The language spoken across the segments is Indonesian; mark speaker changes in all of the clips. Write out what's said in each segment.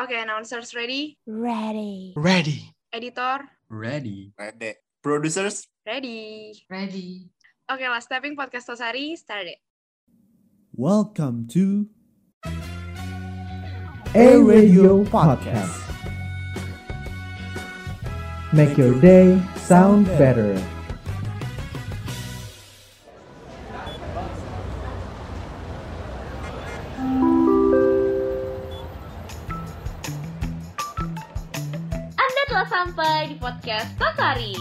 Speaker 1: Oke, announcers ready?
Speaker 2: Ready.
Speaker 3: Ready.
Speaker 1: Editor?
Speaker 4: Ready.
Speaker 5: Ready. Producers
Speaker 1: Ready.
Speaker 6: Ready.
Speaker 1: Oke, last stepping podcast Tosari, start it.
Speaker 7: Welcome to A Radio Podcast. Make your day sound better.
Speaker 8: Anda telah sampai di podcast Tosari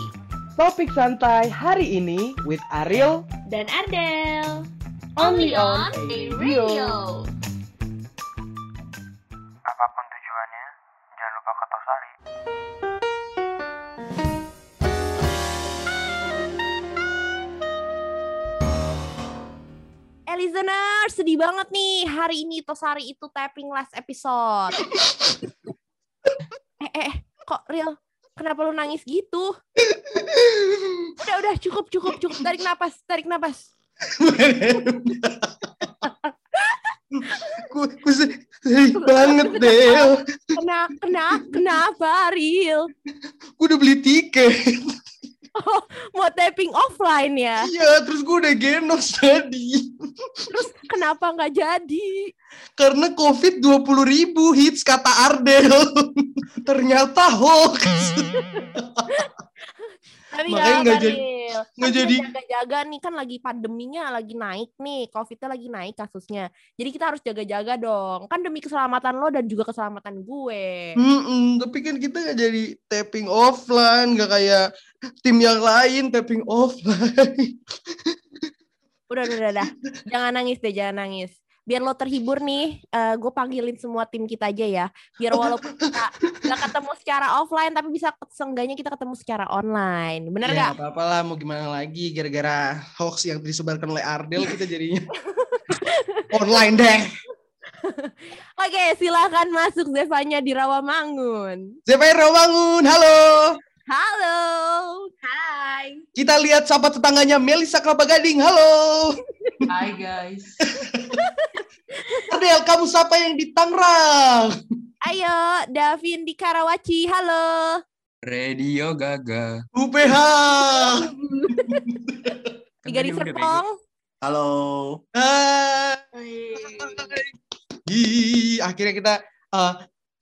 Speaker 9: Topik santai hari ini with Ariel.
Speaker 8: dan Ardel. Only on A Radio.
Speaker 10: Apapun tujuannya, jangan lupa ke Tosari.
Speaker 2: Eh listener, sedih banget nih. Hari ini Tosari itu tapping last episode. eh, eh, eh, kok real? Kenapa lu nangis gitu? Udah, udah, cukup, cukup, cukup. Tarik napas, tarik napas.
Speaker 3: Gue gue sedih banget Del.
Speaker 2: Kena, kena, kenapa real?
Speaker 3: Gue udah beli tiket.
Speaker 2: Mau tapping offline ya?
Speaker 3: Iya, terus gue udah genos tadi.
Speaker 2: Terus kenapa nggak jadi?
Speaker 3: Karena COVID 20.000 ribu hits kata Ardel. Ternyata hoax.
Speaker 2: Tapi
Speaker 3: Makanya
Speaker 2: nggak
Speaker 3: nggak
Speaker 2: apa-apa,
Speaker 3: jadi-
Speaker 2: Ril. iya, Kan
Speaker 3: nggak
Speaker 2: kita
Speaker 3: jadi.
Speaker 2: jaga-jaga nih kan lagi pandeminya lagi naik nih, COVID-nya lagi naik kasusnya. Jadi kita harus jaga-jaga dong. Kan demi keselamatan lo dan juga keselamatan gue.
Speaker 3: Hmm. Mm-mm, tapi kan kita nggak jadi tapping offline, nggak kayak tim yang lain tapping offline.
Speaker 2: Udah, udah, udah, udah. Jangan nangis deh, jangan nangis. Biar lo terhibur nih, eh, gue panggilin semua tim kita aja ya. Biar walaupun kita nggak ketemu secara offline, tapi bisa seenggaknya kita ketemu secara online. Bener
Speaker 3: Ya,
Speaker 2: nggak?
Speaker 3: nggak apa-apa lah, mau gimana lagi gara-gara hoax yang disebarkan oleh Ardel kita jadinya online deh.
Speaker 2: Oke, silakan masuk Zevanya di Rawamangun.
Speaker 3: Zephyro bangun, halo.
Speaker 2: Halo.
Speaker 1: Hai.
Speaker 3: Kita lihat sapa tetangganya Melisa Kelapa Gading, halo.
Speaker 6: Hi guys.
Speaker 3: Ardel, kamu sapa yang di Tangerang?
Speaker 2: Ayo, Davin di Karawaci. Halo.
Speaker 4: Radio Gaga.
Speaker 3: UPH.
Speaker 4: Kan
Speaker 2: Tiga di
Speaker 4: tadi udah
Speaker 2: Serpong.
Speaker 5: Halo.
Speaker 3: Hai. Ih, akhirnya kita eh,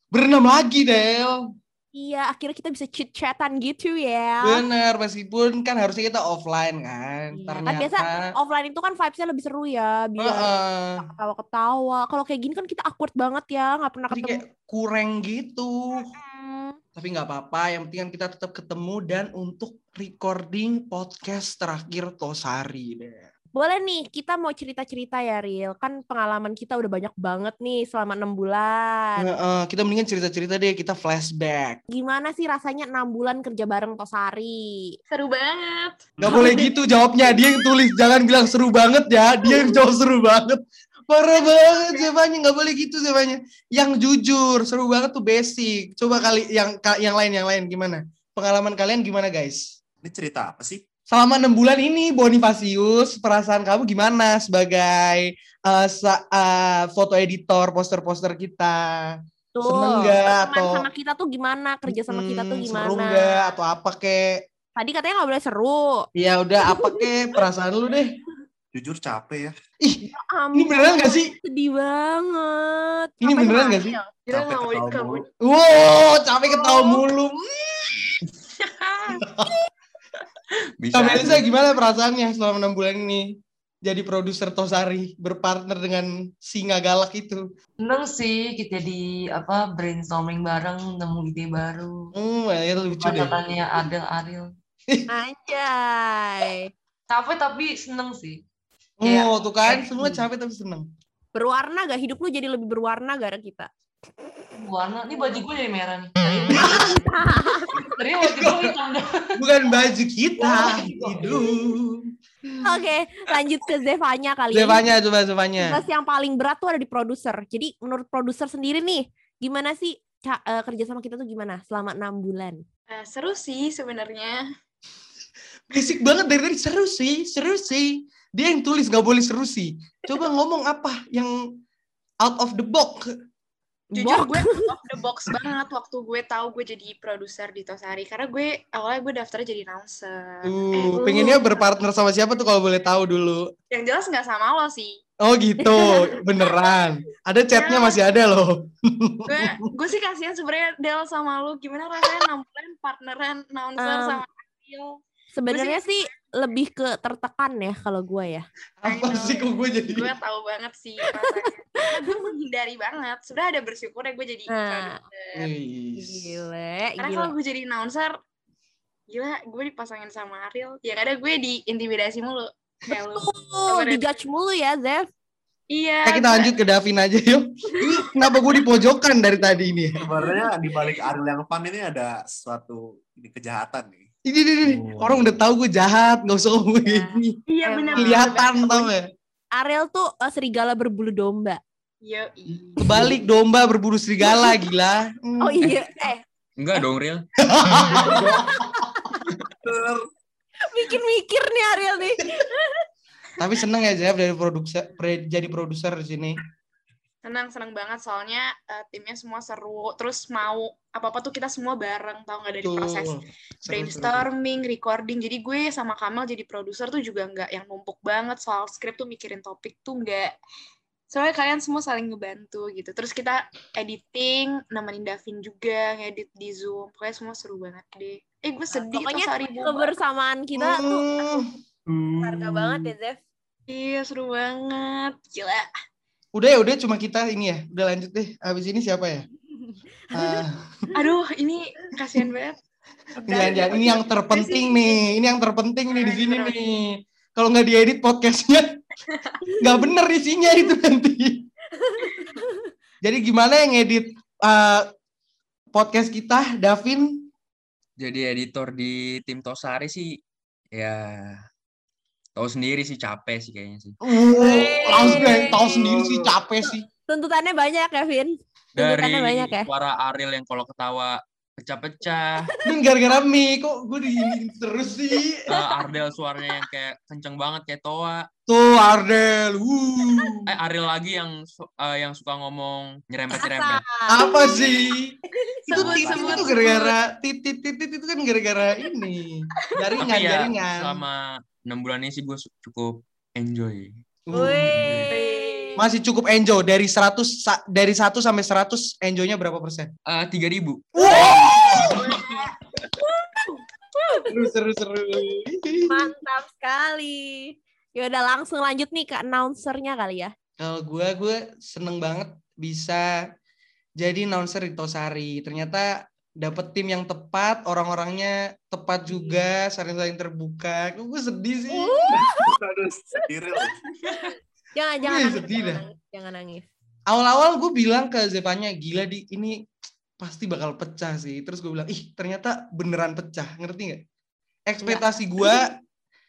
Speaker 3: berenam lagi, Del.
Speaker 2: Iya, akhirnya kita bisa chit-chatan gitu ya.
Speaker 3: Bener, meskipun kan harusnya kita offline kan.
Speaker 2: Iya, kan
Speaker 3: Ternyata,
Speaker 2: biasa- Offline itu kan vibes-nya lebih seru ya, biar
Speaker 3: Heeh.
Speaker 2: ketawa-ketawa. Kalau kayak gini kan kita awkward banget ya, nggak pernah
Speaker 3: Jadi
Speaker 2: ketemu.
Speaker 3: kayak kurang gitu.
Speaker 2: Hmm,
Speaker 3: Tapi nggak apa-apa, yang penting kan kita tetap ketemu dan untuk recording podcast terakhir Tosari deh.
Speaker 2: Boleh nih, kita mau cerita-cerita ya, Ril. Kan pengalaman kita udah banyak banget nih selama enam bulan.
Speaker 3: Heeh, kita mendingan cerita-cerita deh, kita flashback.
Speaker 2: Gimana sih rasanya enam bulan kerja bareng Tosari?
Speaker 1: Seru banget.
Speaker 3: Gak boleh gitu jawabnya, dia yang tulis. Jangan bilang seru banget ya, dia yang jawab seru banget. Parah banget Zevanya, gak boleh gitu Zevanya. Yang jujur, seru banget tuh basic. Coba kali yang ka- yang lain, yang lain gimana? Pengalaman kalian gimana guys?
Speaker 5: Ini cerita apa sih?
Speaker 3: Selama enam bulan ini Bonifasius, perasaan kamu gimana sebagai eh, sa- eh, foto editor poster-poster kita?
Speaker 2: Tuh,
Speaker 3: Seneng nggak
Speaker 2: teman
Speaker 3: atau-
Speaker 2: sama kita tuh gimana? Kerja sama kita tuh
Speaker 3: Hmm,
Speaker 2: gimana?
Speaker 3: Seru nggak atau apa kek?
Speaker 2: Tadi katanya nggak boleh seru.
Speaker 3: Ya udah apa kek perasaan lu deh?
Speaker 5: Jujur capek ya.
Speaker 3: Ih,
Speaker 2: Ampun,
Speaker 3: ini beneran gak sih?
Speaker 2: Sedih banget.
Speaker 3: Ini
Speaker 2: Apa Iya.
Speaker 3: beneran
Speaker 2: yang
Speaker 3: gak sih?
Speaker 2: lain?
Speaker 1: Kita
Speaker 5: Capek
Speaker 1: mau
Speaker 5: ketawa
Speaker 1: kamu.
Speaker 5: mulu.
Speaker 3: Wow, capek
Speaker 2: Oh.
Speaker 3: ketawa mulu.
Speaker 4: bingung. Bisa.
Speaker 3: Kak Melisa
Speaker 4: aja.
Speaker 3: gimana perasaannya selama enam bulan ini jadi produser Tosari berpartner dengan singa galak itu?
Speaker 6: Seneng sih kita di apa brainstorming bareng nemu ide baru.
Speaker 3: Hmm, ya lucu deh.
Speaker 6: Katanya Adel Ariel.
Speaker 2: Anjay.
Speaker 6: Capek tapi seneng sih.
Speaker 3: Oh, tuh kan semua capek tapi seneng.
Speaker 2: Berwarna gak? Hidup lu jadi lebih berwarna gara kita.
Speaker 6: Warna, ini baju gue jadi merah nih. Tadi, tadi waktu gue hitam Nah, dah.
Speaker 3: Bukan baju kita, Nah, hidup.
Speaker 2: Oke, lanjut ke Zevanya kali ini.
Speaker 3: Zevanya, coba Zevanya.
Speaker 2: Tugas yang paling berat tuh ada di produser. Jadi menurut produser sendiri nih, gimana sih ca- eh, kerja sama kita tuh gimana selama enam bulan?
Speaker 1: Eh, seru sih sebenarnya.
Speaker 3: Basic banget dari tadi seru sih, seru sih. Dia yang tulis gak boleh seru sih. Coba ngomong apa yang out of the box.
Speaker 1: jujur
Speaker 2: Bok.
Speaker 1: gue out of the box banget waktu gue tahu gue jadi produser di Tosari karena gue awalnya gue daftar jadi announcer
Speaker 3: Uh, pengennya berpartner sama siapa tuh kalau boleh tahu dulu?
Speaker 1: yang jelas nggak sama lo sih
Speaker 3: Oh gitu, beneran. Ada chatnya masih ada loh.
Speaker 1: gue gue sih kasihan sebenarnya Del sama lu gimana rasanya enam bulan partneran announcer
Speaker 2: Um,
Speaker 1: sama Ariel
Speaker 2: Sebenarnya sih lebih ke tertekan ya kalau gue ya.
Speaker 1: I
Speaker 3: Apa
Speaker 1: know.
Speaker 3: sih kok gue jadi?
Speaker 1: gue tahu banget sih rasanya Karena gue menghindari banget sebenarnya ada bersyukurnya gue jadi
Speaker 2: Nah,
Speaker 3: Iya.
Speaker 1: produser
Speaker 2: Gile,
Speaker 1: karena
Speaker 2: gile.
Speaker 1: kalau gue jadi announcer gila gue dipasangin sama Ariel Ya yang ada gue diintimidasi mulu kayak lu
Speaker 2: Tuh, dijudge mulu ya, Zef.
Speaker 1: iya
Speaker 3: Nah, kita
Speaker 1: gue-
Speaker 3: lanjut ke Davin aja yuk. Ini kenapa gue dipojokkan dari tadi ini? ya?
Speaker 5: Sebenarnya di balik Ariel yang fun ini ada suatu ini kejahatan nih.
Speaker 3: Ini, ini, ini. orang udah tahu gue jahat, nggak usah ngomong
Speaker 2: Ya.
Speaker 3: ini.
Speaker 1: iya
Speaker 2: Emang.
Speaker 1: benar
Speaker 3: Kelihatan tau ya.
Speaker 2: Ariel tuh eh, serigala berbulu domba.
Speaker 1: iya
Speaker 3: Balik domba berburu serigala, gila. Hmm.
Speaker 2: Oh iya, eh
Speaker 4: Enggak dong, Ril.
Speaker 2: mikir-mikir nih Ariel nih.
Speaker 3: Tapi seneng ya Jeff dari produser, pre- jadi produser di sini.
Speaker 1: senang senang banget soalnya eh, timnya semua seru terus mau apa apa tuh kita semua bareng tau nggak dari
Speaker 3: Tuh.
Speaker 1: proses
Speaker 3: Seru, seru.
Speaker 1: brainstorming, recording. Jadi gue sama Kamal jadi produser tuh juga nggak yang numpuk banget soal skrip tuh mikirin topik tuh nggak. Soalnya kalian semua saling ngebantu gitu. Terus kita editing, nemenin Davin juga ngedit di Zoom. Pokoknya semua seru banget deh. Eh gue sedih
Speaker 2: Pokoknya
Speaker 1: tuh sehari bubar.
Speaker 2: Kebersamaan kita tuh
Speaker 3: Hmm.
Speaker 2: harga banget ya, Zef.
Speaker 1: Iya seru banget. Gila.
Speaker 3: Udah ya, udah cuma kita ini ya. Udah lanjut deh. Habis ini siapa ya? Ah.
Speaker 1: Aduh ini kasihan banget.
Speaker 3: Jangan, jangan. Ini yang terpenting nih. Ini yang terpenting nih di sini
Speaker 1: Bener.
Speaker 3: nih. Kalau nggak diedit podcastnya, nggak bener isinya itu nanti. Jadi gimana yang edit eh, podcast kita, Davin?
Speaker 4: Jadi editor di tim Tosari sih ya tahu sendiri sih capek sih kayaknya sih.
Speaker 3: Uh,
Speaker 2: Hey.
Speaker 3: langsung yang tahu sendiri sih capek sih.
Speaker 2: Tuntutannya banyak ya, Vin.
Speaker 4: Dari
Speaker 2: Tuntutannya banyak ya.
Speaker 4: suara Ariel yang kalau ketawa pecah-pecah,
Speaker 3: Ini gara-gara Mi, kok gue diinjin terus sih?
Speaker 4: eh, Ardel suaranya yang kayak kenceng banget kayak Toa.
Speaker 3: Tuh Ardel, wuh.
Speaker 4: Eh Ariel lagi yang su- eh, yang suka ngomong nyerempet-nyerempet.
Speaker 2: Asal.
Speaker 3: Apa sih? Itu
Speaker 1: Sebut,
Speaker 3: titit
Speaker 1: sebut,
Speaker 3: itu gara-gara titit titit itu kan gara-gara ini jaringan
Speaker 4: Tapi ya
Speaker 3: jaringan.
Speaker 4: selama enam bulan ini sih gue cukup enjoy.
Speaker 2: Wih.
Speaker 3: Masih cukup enjoy dari 100 sa- dari 1 sampai 100 enjoy-nya berapa persen?
Speaker 4: Eh, Tiga ribu.
Speaker 3: Seru seru seru.
Speaker 2: Mantap sekali. Ya udah langsung lanjut nih ke announcernya kali ya.
Speaker 3: Kalau gue gue seneng banget bisa jadi announcer di Tosari. Ternyata dapet tim yang tepat, orang-orangnya tepat juga, saling-saling terbuka. Gue sedih sih.
Speaker 5: Aduh, sendiri loh.
Speaker 2: Jangan jangan
Speaker 3: Wih,
Speaker 2: nangis,
Speaker 3: sedih
Speaker 2: jangan
Speaker 3: dah.
Speaker 2: nangis, jangan nangis.
Speaker 3: awal-awal gue bilang ke Zevanya gila di ini pasti bakal pecah sih terus gue bilang ih ternyata beneran pecah ngerti nggak ekspektasi gue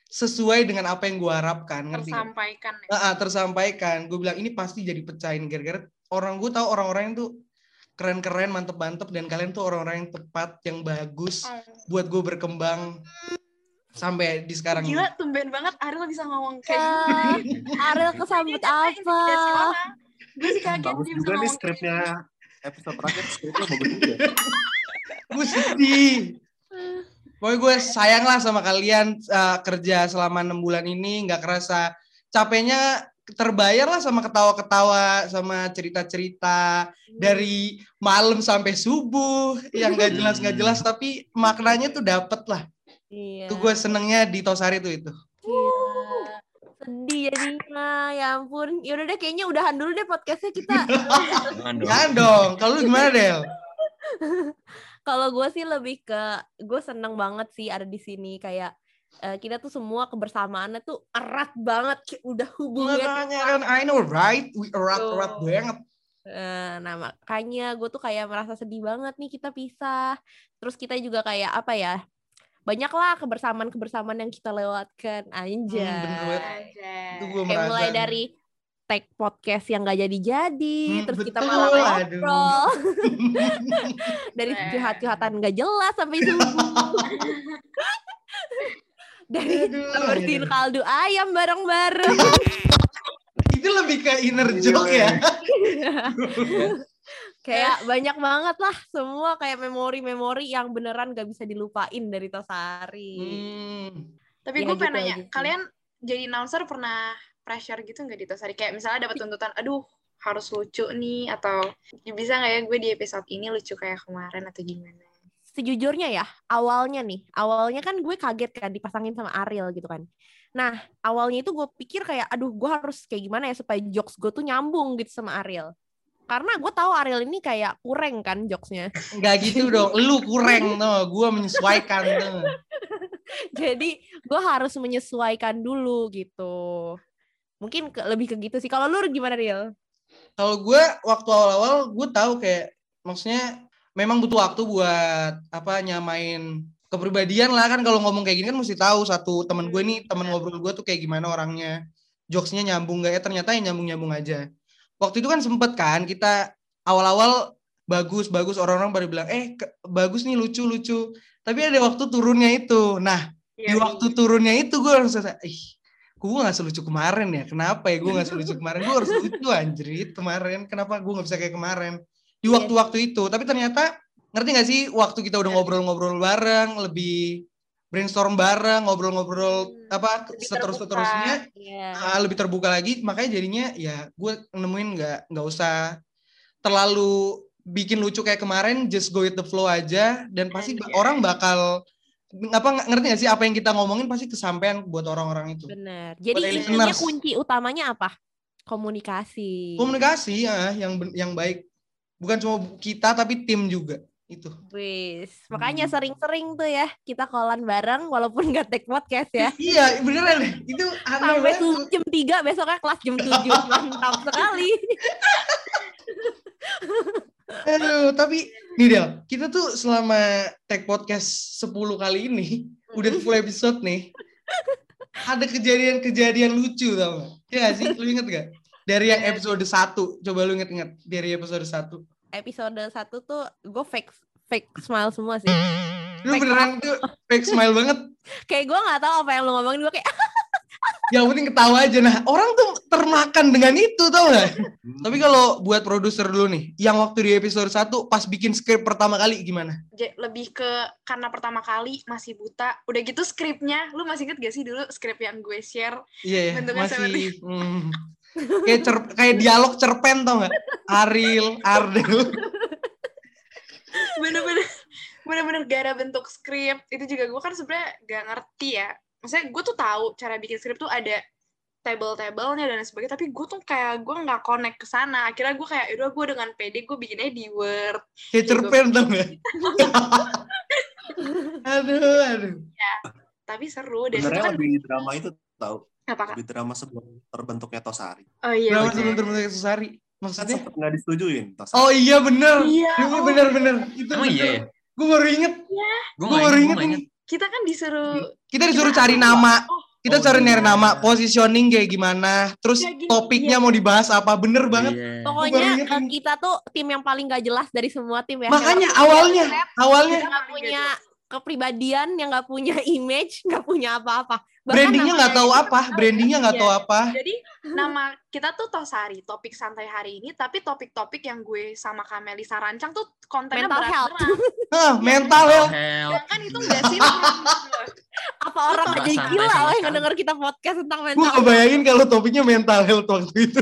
Speaker 3: sesuai dengan apa yang gue harapkan ngerti nggak
Speaker 1: Tersampaikan ya.
Speaker 3: Ah, ah, tersampaikan gue bilang ini pasti jadi pecahin gara-gara orang gue tahu orang-orang itu keren-keren mantep-mantep dan kalian tuh orang-orang yang tepat yang bagus
Speaker 1: Oh.
Speaker 3: buat gue berkembang sampai di sekarang ini.
Speaker 1: Gila, tumben banget Ariel bisa ngomong kayak
Speaker 2: Ah, Ariel kesambut
Speaker 1: Iya,
Speaker 2: apa?
Speaker 1: Gue sih kaget
Speaker 5: Bagus
Speaker 1: dia bisa
Speaker 5: juga nih
Speaker 1: ngomong kayak
Speaker 5: skripnya episode terakhir skripnya bagus juga.
Speaker 3: gue sedih. Pokoknya gue sayang lah sama kalian uh, kerja selama enam bulan ini nggak kerasa capeknya terbayar lah sama ketawa-ketawa sama cerita-cerita dari malam sampai subuh yang nggak jelas nggak jelas tapi maknanya tuh dapet lah
Speaker 2: Iya.
Speaker 3: tuh gue senengnya di Tosari tuh itu
Speaker 2: Gila. Sedih jadinya. Ya ampun. Yaudah deh kayaknya udahan dulu deh podcastnya kita.
Speaker 4: Jangan dong.
Speaker 3: jangan dong kalau lu gimana Del
Speaker 2: Kalau gue sih lebih ke gue seneng banget sih ada di sini kayak eh, kita tuh semua kebersamaannya tuh erat banget Kayak udah hubungan
Speaker 3: makanya kan I know right we erat erat banget
Speaker 2: Eh, nah makanya gue tuh kayak merasa sedih banget nih kita pisah terus kita juga kayak apa ya banyaklah kebersamaan kebersamaan yang kita lewatkan
Speaker 3: Hmm, bener
Speaker 2: anjay
Speaker 3: banget. itu
Speaker 1: Anjay.
Speaker 2: Iya.
Speaker 3: gue
Speaker 2: kayak
Speaker 3: merasa
Speaker 2: mulai dari tag podcast yang gak jadi-jadi
Speaker 3: Hmm,
Speaker 2: terus kita
Speaker 3: betul,
Speaker 2: malah
Speaker 3: aduh.
Speaker 2: ngobrol dari
Speaker 1: Keren.
Speaker 2: curhat-curhatan gak jelas sampai subuh dari
Speaker 3: Aduh,
Speaker 2: kita bersihin
Speaker 3: aduh.
Speaker 2: kaldu ayam bareng-bareng Iya.
Speaker 3: itu lebih ke inner joke ya
Speaker 2: Kayak banyak banget lah semua kayak memori-memori yang beneran gak bisa dilupain dari Tosari.
Speaker 3: Hmm.
Speaker 1: Tapi
Speaker 2: Ya,
Speaker 1: gue pengen
Speaker 2: gitu,
Speaker 1: nanya,
Speaker 2: gitu.
Speaker 1: kalian jadi announcer pernah pressure gitu nggak di Tosari? Kayak misalnya dapat tuntutan, aduh harus lucu nih atau bisa nggak ya gue di episode ini lucu kayak kemarin atau gimana?
Speaker 2: Sejujurnya ya, awalnya nih, awalnya kan gue kaget kan dipasangin sama Ariel gitu kan. Nah, awalnya itu gue pikir kayak aduh gue harus kayak gimana ya supaya jokes gue tuh nyambung gitu sama Ariel. Karena gue tahu Ariel ini kayak kurang kan jokesnya.
Speaker 3: Nggak gitu dong. Lu kurang tuh. Gue menyesuaikan tuh.
Speaker 2: jadi gue harus menyesuaikan dulu gitu mungkin ke- lebih ke gitu sih kalau lu gimana Riel
Speaker 3: Kalau gue waktu awal-awal gue tahu kayak maksudnya memang butuh waktu buat apa nyamain kepribadian lah kan kalau ngomong kayak gini kan mesti tahu satu temen gue nih temen ngobrol gue tuh kayak gimana orangnya jokesnya nyambung gak ya ternyata yang nyambung nyambung aja waktu itu kan sempet kan kita awal-awal bagus bagus orang-orang pada bilang eh ke- bagus nih lucu lucu tapi ada waktu turunnya itu nah
Speaker 1: Iya,
Speaker 2: Iya,
Speaker 3: di waktu turunnya itu gue langsung kayak, ih gue gak selucu kemarin ya kenapa ya gue gak selucu kemarin gue harus lucu anjrit kemarin kenapa gue gak bisa kayak kemarin di
Speaker 1: Iya.
Speaker 3: waktu-waktu itu tapi ternyata ngerti gak sih waktu
Speaker 1: iya.
Speaker 3: kita udah ngobrol-ngobrol bareng lebih brainstorm bareng ngobrol-ngobrol
Speaker 1: Hmm,
Speaker 3: apa
Speaker 1: Lebih
Speaker 3: seterus-seterusnya
Speaker 1: terbuka.
Speaker 2: Iya,
Speaker 3: Ah, lebih terbuka lagi makanya jadinya ya gue nemuin nggak nggak usah terlalu bikin lucu kayak kemarin just go with the flow aja dan pasti ba-
Speaker 1: Iya.
Speaker 3: orang bakal apa nggak- ngerti gak sih apa yang kita ngomongin pasti kesampaian buat orang-orang itu
Speaker 2: bener jadi
Speaker 3: Buat
Speaker 2: intinya
Speaker 3: listeners.
Speaker 2: kunci utamanya apa komunikasi
Speaker 3: komunikasi ah, yang ben- yang baik bukan cuma kita tapi tim juga itu
Speaker 2: Wis. makanya sering-sering tuh ya kita kolan bareng walaupun gak take podcast ya
Speaker 3: iya beneran deh. itu aneh
Speaker 2: sampai
Speaker 3: banget
Speaker 2: tu- jam 3 besoknya kelas jam 7 mantap sekali
Speaker 3: Aduh, tapi nih Del, kita tuh selama tag podcast 10 kali ini, udah 10 episode nih, ada kejadian-kejadian lucu tau gak? Iya gak sih? Lu inget gak? Dari yang episode 1, coba lu inget-inget dari episode 1.
Speaker 2: episode 1 tuh gue fake fake smile semua sih
Speaker 3: Lu beneran tuh fake smile banget,
Speaker 2: kayak gue nggak tahu apa yang lu ngomongin gue kayak "Ah,
Speaker 3: yang penting ketawa aja. Nah, orang tuh termakan dengan itu tau gak? Tapi kalau buat produser dulu nih, yang waktu di episode 1 pas bikin script pertama kali gimana?
Speaker 1: Ja- lebih ke karena pertama kali masih buta udah gitu skripnya lu masih inget gak sih dulu skrip yang gue share
Speaker 3: Iya, ya,
Speaker 1: Bentuknya seperti
Speaker 3: masih hmm, kayak cer- kayak dialog cerpen tau gak? Aril, Ardel.
Speaker 1: bener-bener bener-bener gak ada bentuk skrip itu juga gue kan sebenarnya gak ngerti ya maksudnya gue tuh tahu cara bikin skrip tuh ada table-tablenya dan lain sebagainya tapi gue tuh kayak gue nggak connect ke sana akhirnya gue kayak udah gue dengan pede gue bikinnya di word
Speaker 3: Kayak cerpen tau gak? aduh, aduh.
Speaker 1: tapi seru dan itu
Speaker 5: Sebenarnya
Speaker 1: kan
Speaker 5: lebih drama itu tahu
Speaker 1: apa Kak?
Speaker 5: lebih drama sebelum terbentuknya Tosari.
Speaker 1: oh iya
Speaker 3: Berapa
Speaker 1: bener.
Speaker 3: sebelum terbentuk Susari?
Speaker 5: Kan
Speaker 3: Maksudnya?
Speaker 5: sempat nggak disetujuin Tosari.
Speaker 3: Oh iya bener.
Speaker 1: Iya,
Speaker 3: Ini
Speaker 1: oh.
Speaker 3: bener bener. Itu
Speaker 4: Emang iya ya?
Speaker 3: Gue baru inget.
Speaker 4: Gue
Speaker 3: Gue
Speaker 4: nggak
Speaker 3: baru inget
Speaker 4: ingat, gua nggak
Speaker 3: nih.
Speaker 4: ingat.
Speaker 1: kita kan disuruh
Speaker 3: Kita disuruh cari nama.
Speaker 1: oh
Speaker 3: Kita
Speaker 5: Oh,
Speaker 3: cari nyari
Speaker 5: iya.
Speaker 3: nama. Positioning kayak gimana. Terus
Speaker 1: Kayak gini,
Speaker 3: topiknya
Speaker 1: iya.
Speaker 3: mau dibahas apa. Bener banget.
Speaker 4: Iya.
Speaker 2: pokoknya
Speaker 3: inget
Speaker 2: eh,
Speaker 3: ini.
Speaker 2: kita tuh tim yang paling gak jelas dari semua tim ya
Speaker 3: Makanya awalnya.
Speaker 1: Iya.
Speaker 3: Awalnya.
Speaker 2: Kita nggak punya kepribadian yang nggak punya image nggak punya apa-apa Bahkan
Speaker 3: Brandingnya nggak
Speaker 2: namanya
Speaker 3: tahu
Speaker 2: aja
Speaker 3: apa. Brandingnya
Speaker 1: Iya.
Speaker 3: nggak tahu apa.
Speaker 1: jadi nama kita tuh Tosari topik santai hari ini tapi topik-topik yang gue sama Kamelisa rancang tuh kontennya
Speaker 2: Mental health.
Speaker 1: berat-berat
Speaker 3: Hah, mental ya. health.
Speaker 4: Help.
Speaker 1: sedangkan Kan itu nggak sinkron
Speaker 2: apa orang
Speaker 4: Nggak
Speaker 2: jadi
Speaker 4: santai
Speaker 2: gila
Speaker 4: sama
Speaker 2: lah yang
Speaker 4: sekali.
Speaker 2: ngedenger kita podcast tentang
Speaker 3: Gue
Speaker 2: mental
Speaker 3: kebayangin kalau topiknya mental health waktu itu.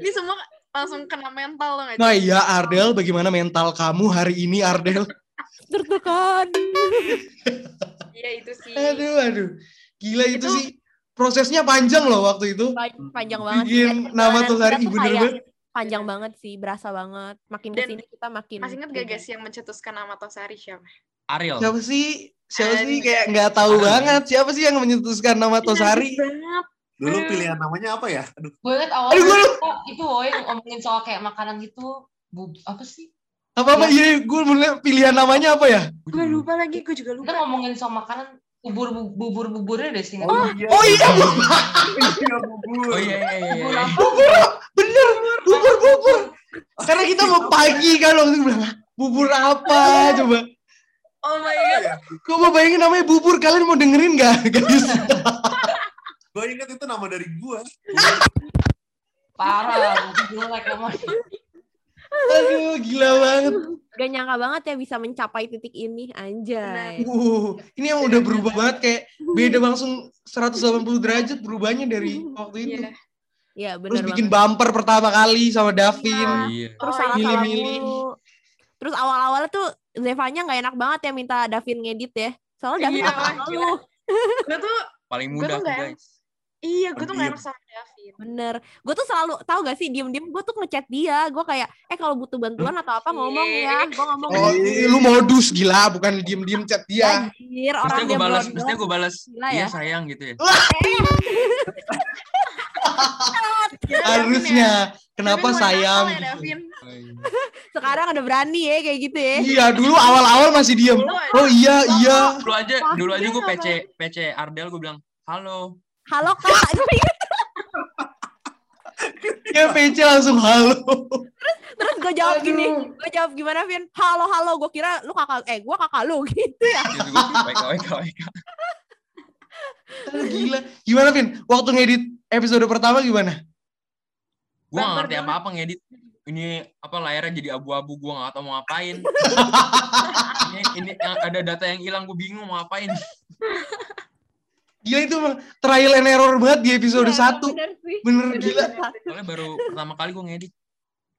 Speaker 1: ini semua langsung kena mental loh
Speaker 3: Nah iya Ardel, bagaimana mental kamu hari ini Ardel?
Speaker 2: tertekan
Speaker 1: iya itu sih
Speaker 3: Aduh, aduh. Gila itu,
Speaker 1: Itu-
Speaker 3: sih. Prosesnya panjang loh waktu itu.
Speaker 2: Pan- panjang banget sih.
Speaker 3: Bikin
Speaker 2: Kayak
Speaker 3: nama
Speaker 2: perjalanan
Speaker 3: tuh hari
Speaker 2: kita
Speaker 3: ibu bener
Speaker 2: kayak
Speaker 3: banget.
Speaker 2: panjang banget sih berasa banget makin
Speaker 1: Dan
Speaker 2: kesini kita makin
Speaker 1: masih inget gak guys yang mencetuskan nama Tosari siapa
Speaker 4: Ariel.
Speaker 3: Siapa sih? Siapa
Speaker 1: Aduh.
Speaker 3: sih kayak nggak tahu
Speaker 4: Aduh.
Speaker 3: banget. Siapa sih yang menyetuskan nama Tosari?
Speaker 1: Iya, banget
Speaker 5: Dulu pilihan namanya apa ya? Aduh,
Speaker 6: Gue ingat
Speaker 3: Aduh,
Speaker 6: awalnya
Speaker 3: gue
Speaker 6: kita itu woy ngomongin soal kayak makanan gitu. Bu, apa sih?
Speaker 3: apa apa? Iya, gue mulai pilihan namanya apa ya?
Speaker 1: gue lupa lagi gue juga
Speaker 6: Kita
Speaker 1: lupa
Speaker 6: ngomongin soal makanan bubur bu- bubur buburnya deh sih.
Speaker 5: iya.
Speaker 3: Oh iya,
Speaker 5: iya, bubur.
Speaker 4: Oh iya iya iya.
Speaker 6: Bubur
Speaker 4: iya.
Speaker 6: apa?
Speaker 3: bubur, bener, bubur, bubur. Karena kita mau pagi kan waktu itu bilang, "Hah, bubur apa? Coba,
Speaker 1: oh my god
Speaker 3: coba bayangin namanya bubur. Kalian mau dengerin nggak, guys?
Speaker 5: Gue ingat itu nama dari gue.
Speaker 6: Parah, bubur jelek emang.
Speaker 3: Aduh, gila banget.
Speaker 2: Gak nyangka banget ya bisa mencapai titik ini, anjay.
Speaker 3: Uh, ini yang udah berubah banget kayak beda langsung 180 derajat berubahnya dari waktu itu.
Speaker 1: Iya.
Speaker 2: Ya benar
Speaker 3: Terus bikin
Speaker 2: banget.
Speaker 3: bumper pertama kali sama Davin.
Speaker 4: Oh iya.
Speaker 2: Terus
Speaker 1: Oh,
Speaker 2: salah salah
Speaker 3: milih-milih.
Speaker 2: mulu. Terus awal-awalnya tuh Zevanya nggak enak banget ya minta Davin ngedit ya. Soalnya Davin
Speaker 1: Iya,
Speaker 2: apa
Speaker 1: wah,
Speaker 2: lu?
Speaker 1: Gue tuh
Speaker 4: Paling
Speaker 1: Gua
Speaker 4: mudah
Speaker 1: tuh
Speaker 4: tuh,
Speaker 1: nggak-
Speaker 4: guys.
Speaker 1: iya, gue tuh gak
Speaker 4: Pendiam.
Speaker 1: enak sama Davin.
Speaker 2: Bener. Gue tuh selalu tahu gak sih diem-diem gue tuh ngechat dia. Gue kayak eh kalau butuh bantuan atau apa ngomong ya.
Speaker 1: Iya.
Speaker 2: Gue ngomong
Speaker 3: Oh, iya. i- lu modus gila, bukan diem-diem chat dia.
Speaker 2: anjir orang dia
Speaker 4: Mestinya gue balas,
Speaker 2: berondong."
Speaker 4: mestinya gue balas.
Speaker 2: Gila ya.
Speaker 4: Iya sayang gitu ya.
Speaker 1: Gila, Davin ya.
Speaker 3: Harusnya. Kenapa
Speaker 1: Davin mulai
Speaker 3: sayang?
Speaker 1: nakal ya,
Speaker 3: gitu.
Speaker 1: Davin.
Speaker 4: Oh, iya.
Speaker 2: Sekarang udah berani ya kayak gitu ya.
Speaker 3: Iya, dulu awal-awal masih diem.
Speaker 1: Dulu
Speaker 3: Oh iya, iya.
Speaker 4: Dulu aja, dulu aja
Speaker 1: Dia
Speaker 4: gue
Speaker 1: nggak
Speaker 4: PC, PC Ardel gue bilang, halo.
Speaker 2: Halo kak. Gua ingat.
Speaker 3: Ya PC langsung halo.
Speaker 2: Terus gue jawab gini. Gue jawab gimana Vin? Halo halo. Gue kira lu kakak. Eh gue kakak lu gitu ya.
Speaker 3: Iya,
Speaker 4: Gitu gue, baik, baik, baik.
Speaker 3: Aduh, Gila. Gimana, Vin? Waktu ngedit episode pertama gimana?
Speaker 4: Gue gak
Speaker 1: Baper
Speaker 4: ngerti
Speaker 1: banget.
Speaker 4: apa-apa ngedit. Ini apa layarnya jadi abu-abu gue gak tau mau ngapain. ini, ini yang ada data yang hilang gue bingung mau ngapain.
Speaker 3: Gila itu emang trial and error banget di episode
Speaker 1: Iya,
Speaker 3: satu.
Speaker 2: Bener sih.
Speaker 3: Iya, Bener, gila.
Speaker 4: Soalnya baru pertama kali gue ngedit.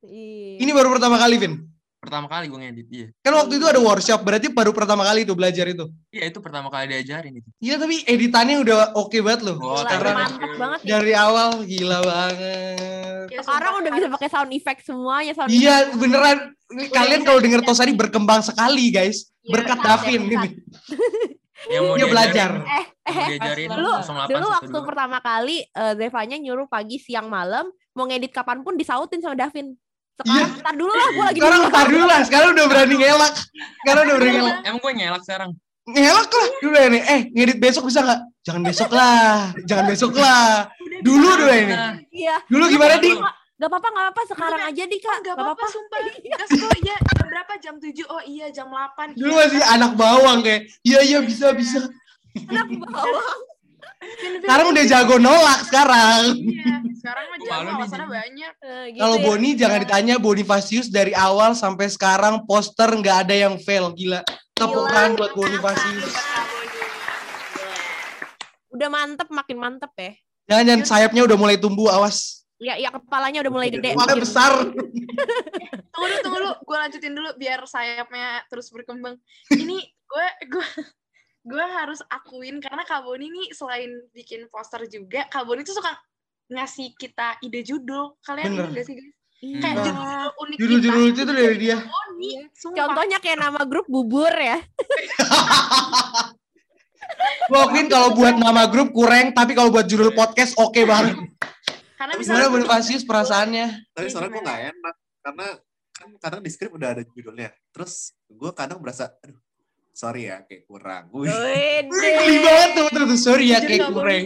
Speaker 2: Iya.
Speaker 3: Ini baru pertama kali, Vin.
Speaker 4: Pertama kali gue ngedit, iya.
Speaker 3: Kan waktu itu ada workshop, berarti baru pertama kali itu belajar itu.
Speaker 4: Iya itu pertama kali diajarin itu.
Speaker 3: Iya, tapi editannya udah oke banget loh.
Speaker 1: Oh,
Speaker 4: Wah,
Speaker 3: Sekarang
Speaker 4: thank
Speaker 2: mantap banget nih.
Speaker 3: dari awal gila banget.
Speaker 1: Ya,
Speaker 2: Sekarang
Speaker 1: sumpah,
Speaker 2: udah bisa pakai sound effect semuanya sound
Speaker 3: Iya, beneran. Kalian kalau denger Tosari berkembang sekali, guys.
Speaker 1: Iya,
Speaker 3: Berkat
Speaker 2: berkat,
Speaker 3: Davin
Speaker 2: berkat.
Speaker 3: ini.
Speaker 4: Yang mau
Speaker 3: Dia
Speaker 4: diajarin-
Speaker 3: Iya, belajar.
Speaker 2: Eh,
Speaker 4: Yang mau
Speaker 2: eh,
Speaker 4: diajarin
Speaker 6: dulu-
Speaker 4: 08
Speaker 2: dulu waktu
Speaker 4: 12.
Speaker 2: pertama kali eh, Zevanya nyuruh pagi siang malam mau ngedit kapanpun disautin sama Davin sekarang ntar dulu lah gue lagi
Speaker 3: Iya, Sekarang
Speaker 2: bingung.
Speaker 3: ntar dulu lah, sekarang udah berani ngelak. Sekarang udah berani ngelak.
Speaker 4: Emang- Emang gue nyelak sekarang.
Speaker 3: ngelak lah dulu ya nih eh ngedit besok bisa nggak jangan besok lah jangan besok lah
Speaker 1: Udah
Speaker 3: dulu
Speaker 1: bisa.
Speaker 3: dulu ya ini
Speaker 4: Nah,
Speaker 2: iya
Speaker 3: dulu gimana di
Speaker 2: gak apa-apa gak apa-apa sekarang aja di kak
Speaker 1: Oh, Gak apa-apa, sumpah. Gas kok, iya. Jam berapa? Jam 7? Oh iya, jam 8.
Speaker 3: dulu masih anak bawang kayak iya iya bisa bisa
Speaker 2: anak bawah
Speaker 3: sekarang udah jago nolak sekarang
Speaker 1: Iya, sekarang mah
Speaker 4: Gua
Speaker 1: jago,
Speaker 4: malu nih,
Speaker 1: alasannya
Speaker 4: jadi.
Speaker 1: banyak.
Speaker 2: Eh, gitu
Speaker 3: kalau
Speaker 2: ya.
Speaker 3: Boni jangan ditanya Bonifacius dari awal sampai sekarang poster nggak ada yang fail gila tepuk
Speaker 2: Gila.
Speaker 3: tangan buat
Speaker 1: Buat
Speaker 3: Bonifacius
Speaker 1: Kak Boni.
Speaker 2: udah mantep makin mantep ya
Speaker 3: jangan jangan sayapnya udah mulai tumbuh awas
Speaker 2: ya ya kepalanya udah mulai gede
Speaker 3: kepala
Speaker 2: makin-
Speaker 3: besar
Speaker 1: Tunggu dulu, tunggu dulu. Gue lanjutin dulu biar sayapnya terus berkembang. Ini gue gue gue harus akuin karena Kak Boni nih selain bikin poster juga, Kak Boni tuh suka ngasih kita ide judul. Kalian
Speaker 3: Bener.
Speaker 1: ini gak sih guys?
Speaker 2: Iya.
Speaker 1: Kayak
Speaker 3: Nah,
Speaker 1: judul unik
Speaker 3: judul-judul
Speaker 1: kita.
Speaker 3: itu tuh dari dia.
Speaker 1: Boni, sumpah.
Speaker 2: contohnya kayak nama grup bubur ya
Speaker 3: gua akuin kalau buat nama grup kurang tapi kalau buat judul podcast oke banget
Speaker 1: karena
Speaker 3: gimana
Speaker 1: misalnya
Speaker 3: Bonifacius perasaannya
Speaker 5: Tapi
Speaker 1: Iya,
Speaker 5: soalnya gue
Speaker 1: gimana?
Speaker 5: gak enak. Karena kan kadang di skrip udah ada judulnya. Terus gue kadang berasa, aduh sorry ya kayak kurang. Gue
Speaker 2: Wede.
Speaker 3: geli banget tuh betul tuh sorry ya
Speaker 1: Jujur
Speaker 3: kayak
Speaker 1: nggak
Speaker 3: kurang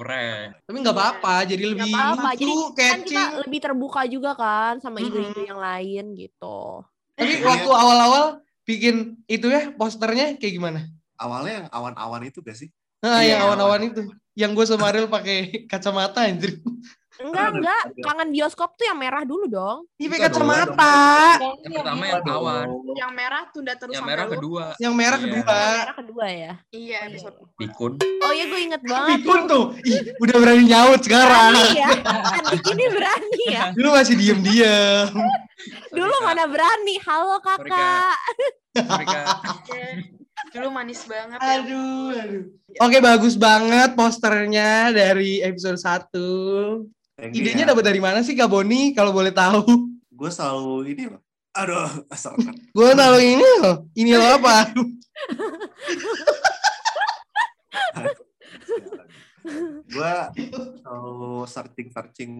Speaker 4: Keren.
Speaker 3: tapi nggak apa-apa jadi lebih
Speaker 1: Nggak
Speaker 2: apa-apa,
Speaker 3: lucu
Speaker 2: jadi kan kita
Speaker 3: catching
Speaker 2: lebih terbuka juga kan sama
Speaker 3: Mm-mm.
Speaker 2: ide-ide yang lain gitu
Speaker 3: tapi
Speaker 5: Iya.
Speaker 3: waktu awal-awal bikin itu ya posternya kayak gimana
Speaker 5: awalnya yang awan-awan itu gak sih?
Speaker 3: nah
Speaker 4: Iya,
Speaker 3: yang awan-awan itu yang gue sama Ariel pakai kacamata anjir
Speaker 2: Enggak,
Speaker 5: Ada-
Speaker 2: enggak.
Speaker 5: ada.
Speaker 2: Kangen bioskop tuh yang merah dulu dong.
Speaker 3: ini pakai
Speaker 4: Itu ada orang.
Speaker 3: kacamata
Speaker 4: Yang pertama yang awan,
Speaker 1: yang merah tunda terus
Speaker 4: yang
Speaker 1: sampai
Speaker 4: merah
Speaker 1: lu.
Speaker 4: kedua,
Speaker 3: yang merah
Speaker 4: Iya.
Speaker 3: kedua
Speaker 2: Merah kedua ya.
Speaker 1: Iya,
Speaker 2: Oh, iya,
Speaker 1: episode
Speaker 2: iya.
Speaker 4: pikun.
Speaker 2: Oh iya gue inget banget.
Speaker 3: pikun tuh ih udah berani nyaut
Speaker 2: Berani
Speaker 3: sekarang
Speaker 2: ya. Adik ini berani ya.
Speaker 3: dulu masih diem-diem
Speaker 2: Dulu
Speaker 4: Kak.
Speaker 2: mana berani. Halo
Speaker 4: Sorry,
Speaker 2: kakak.
Speaker 4: Mereka
Speaker 1: Iya. Dulu manis banget ya.
Speaker 3: aduh aduh Oke bagus banget posternya dari episode 1
Speaker 4: ya.
Speaker 3: Idenya dapat dari mana sih Kak Boni kalau boleh tahu?
Speaker 5: Gue selalu ini loh. Aduh, asalkan.
Speaker 3: Gue taruh ini loh. Ini loh apa?
Speaker 5: gue selalu searching searching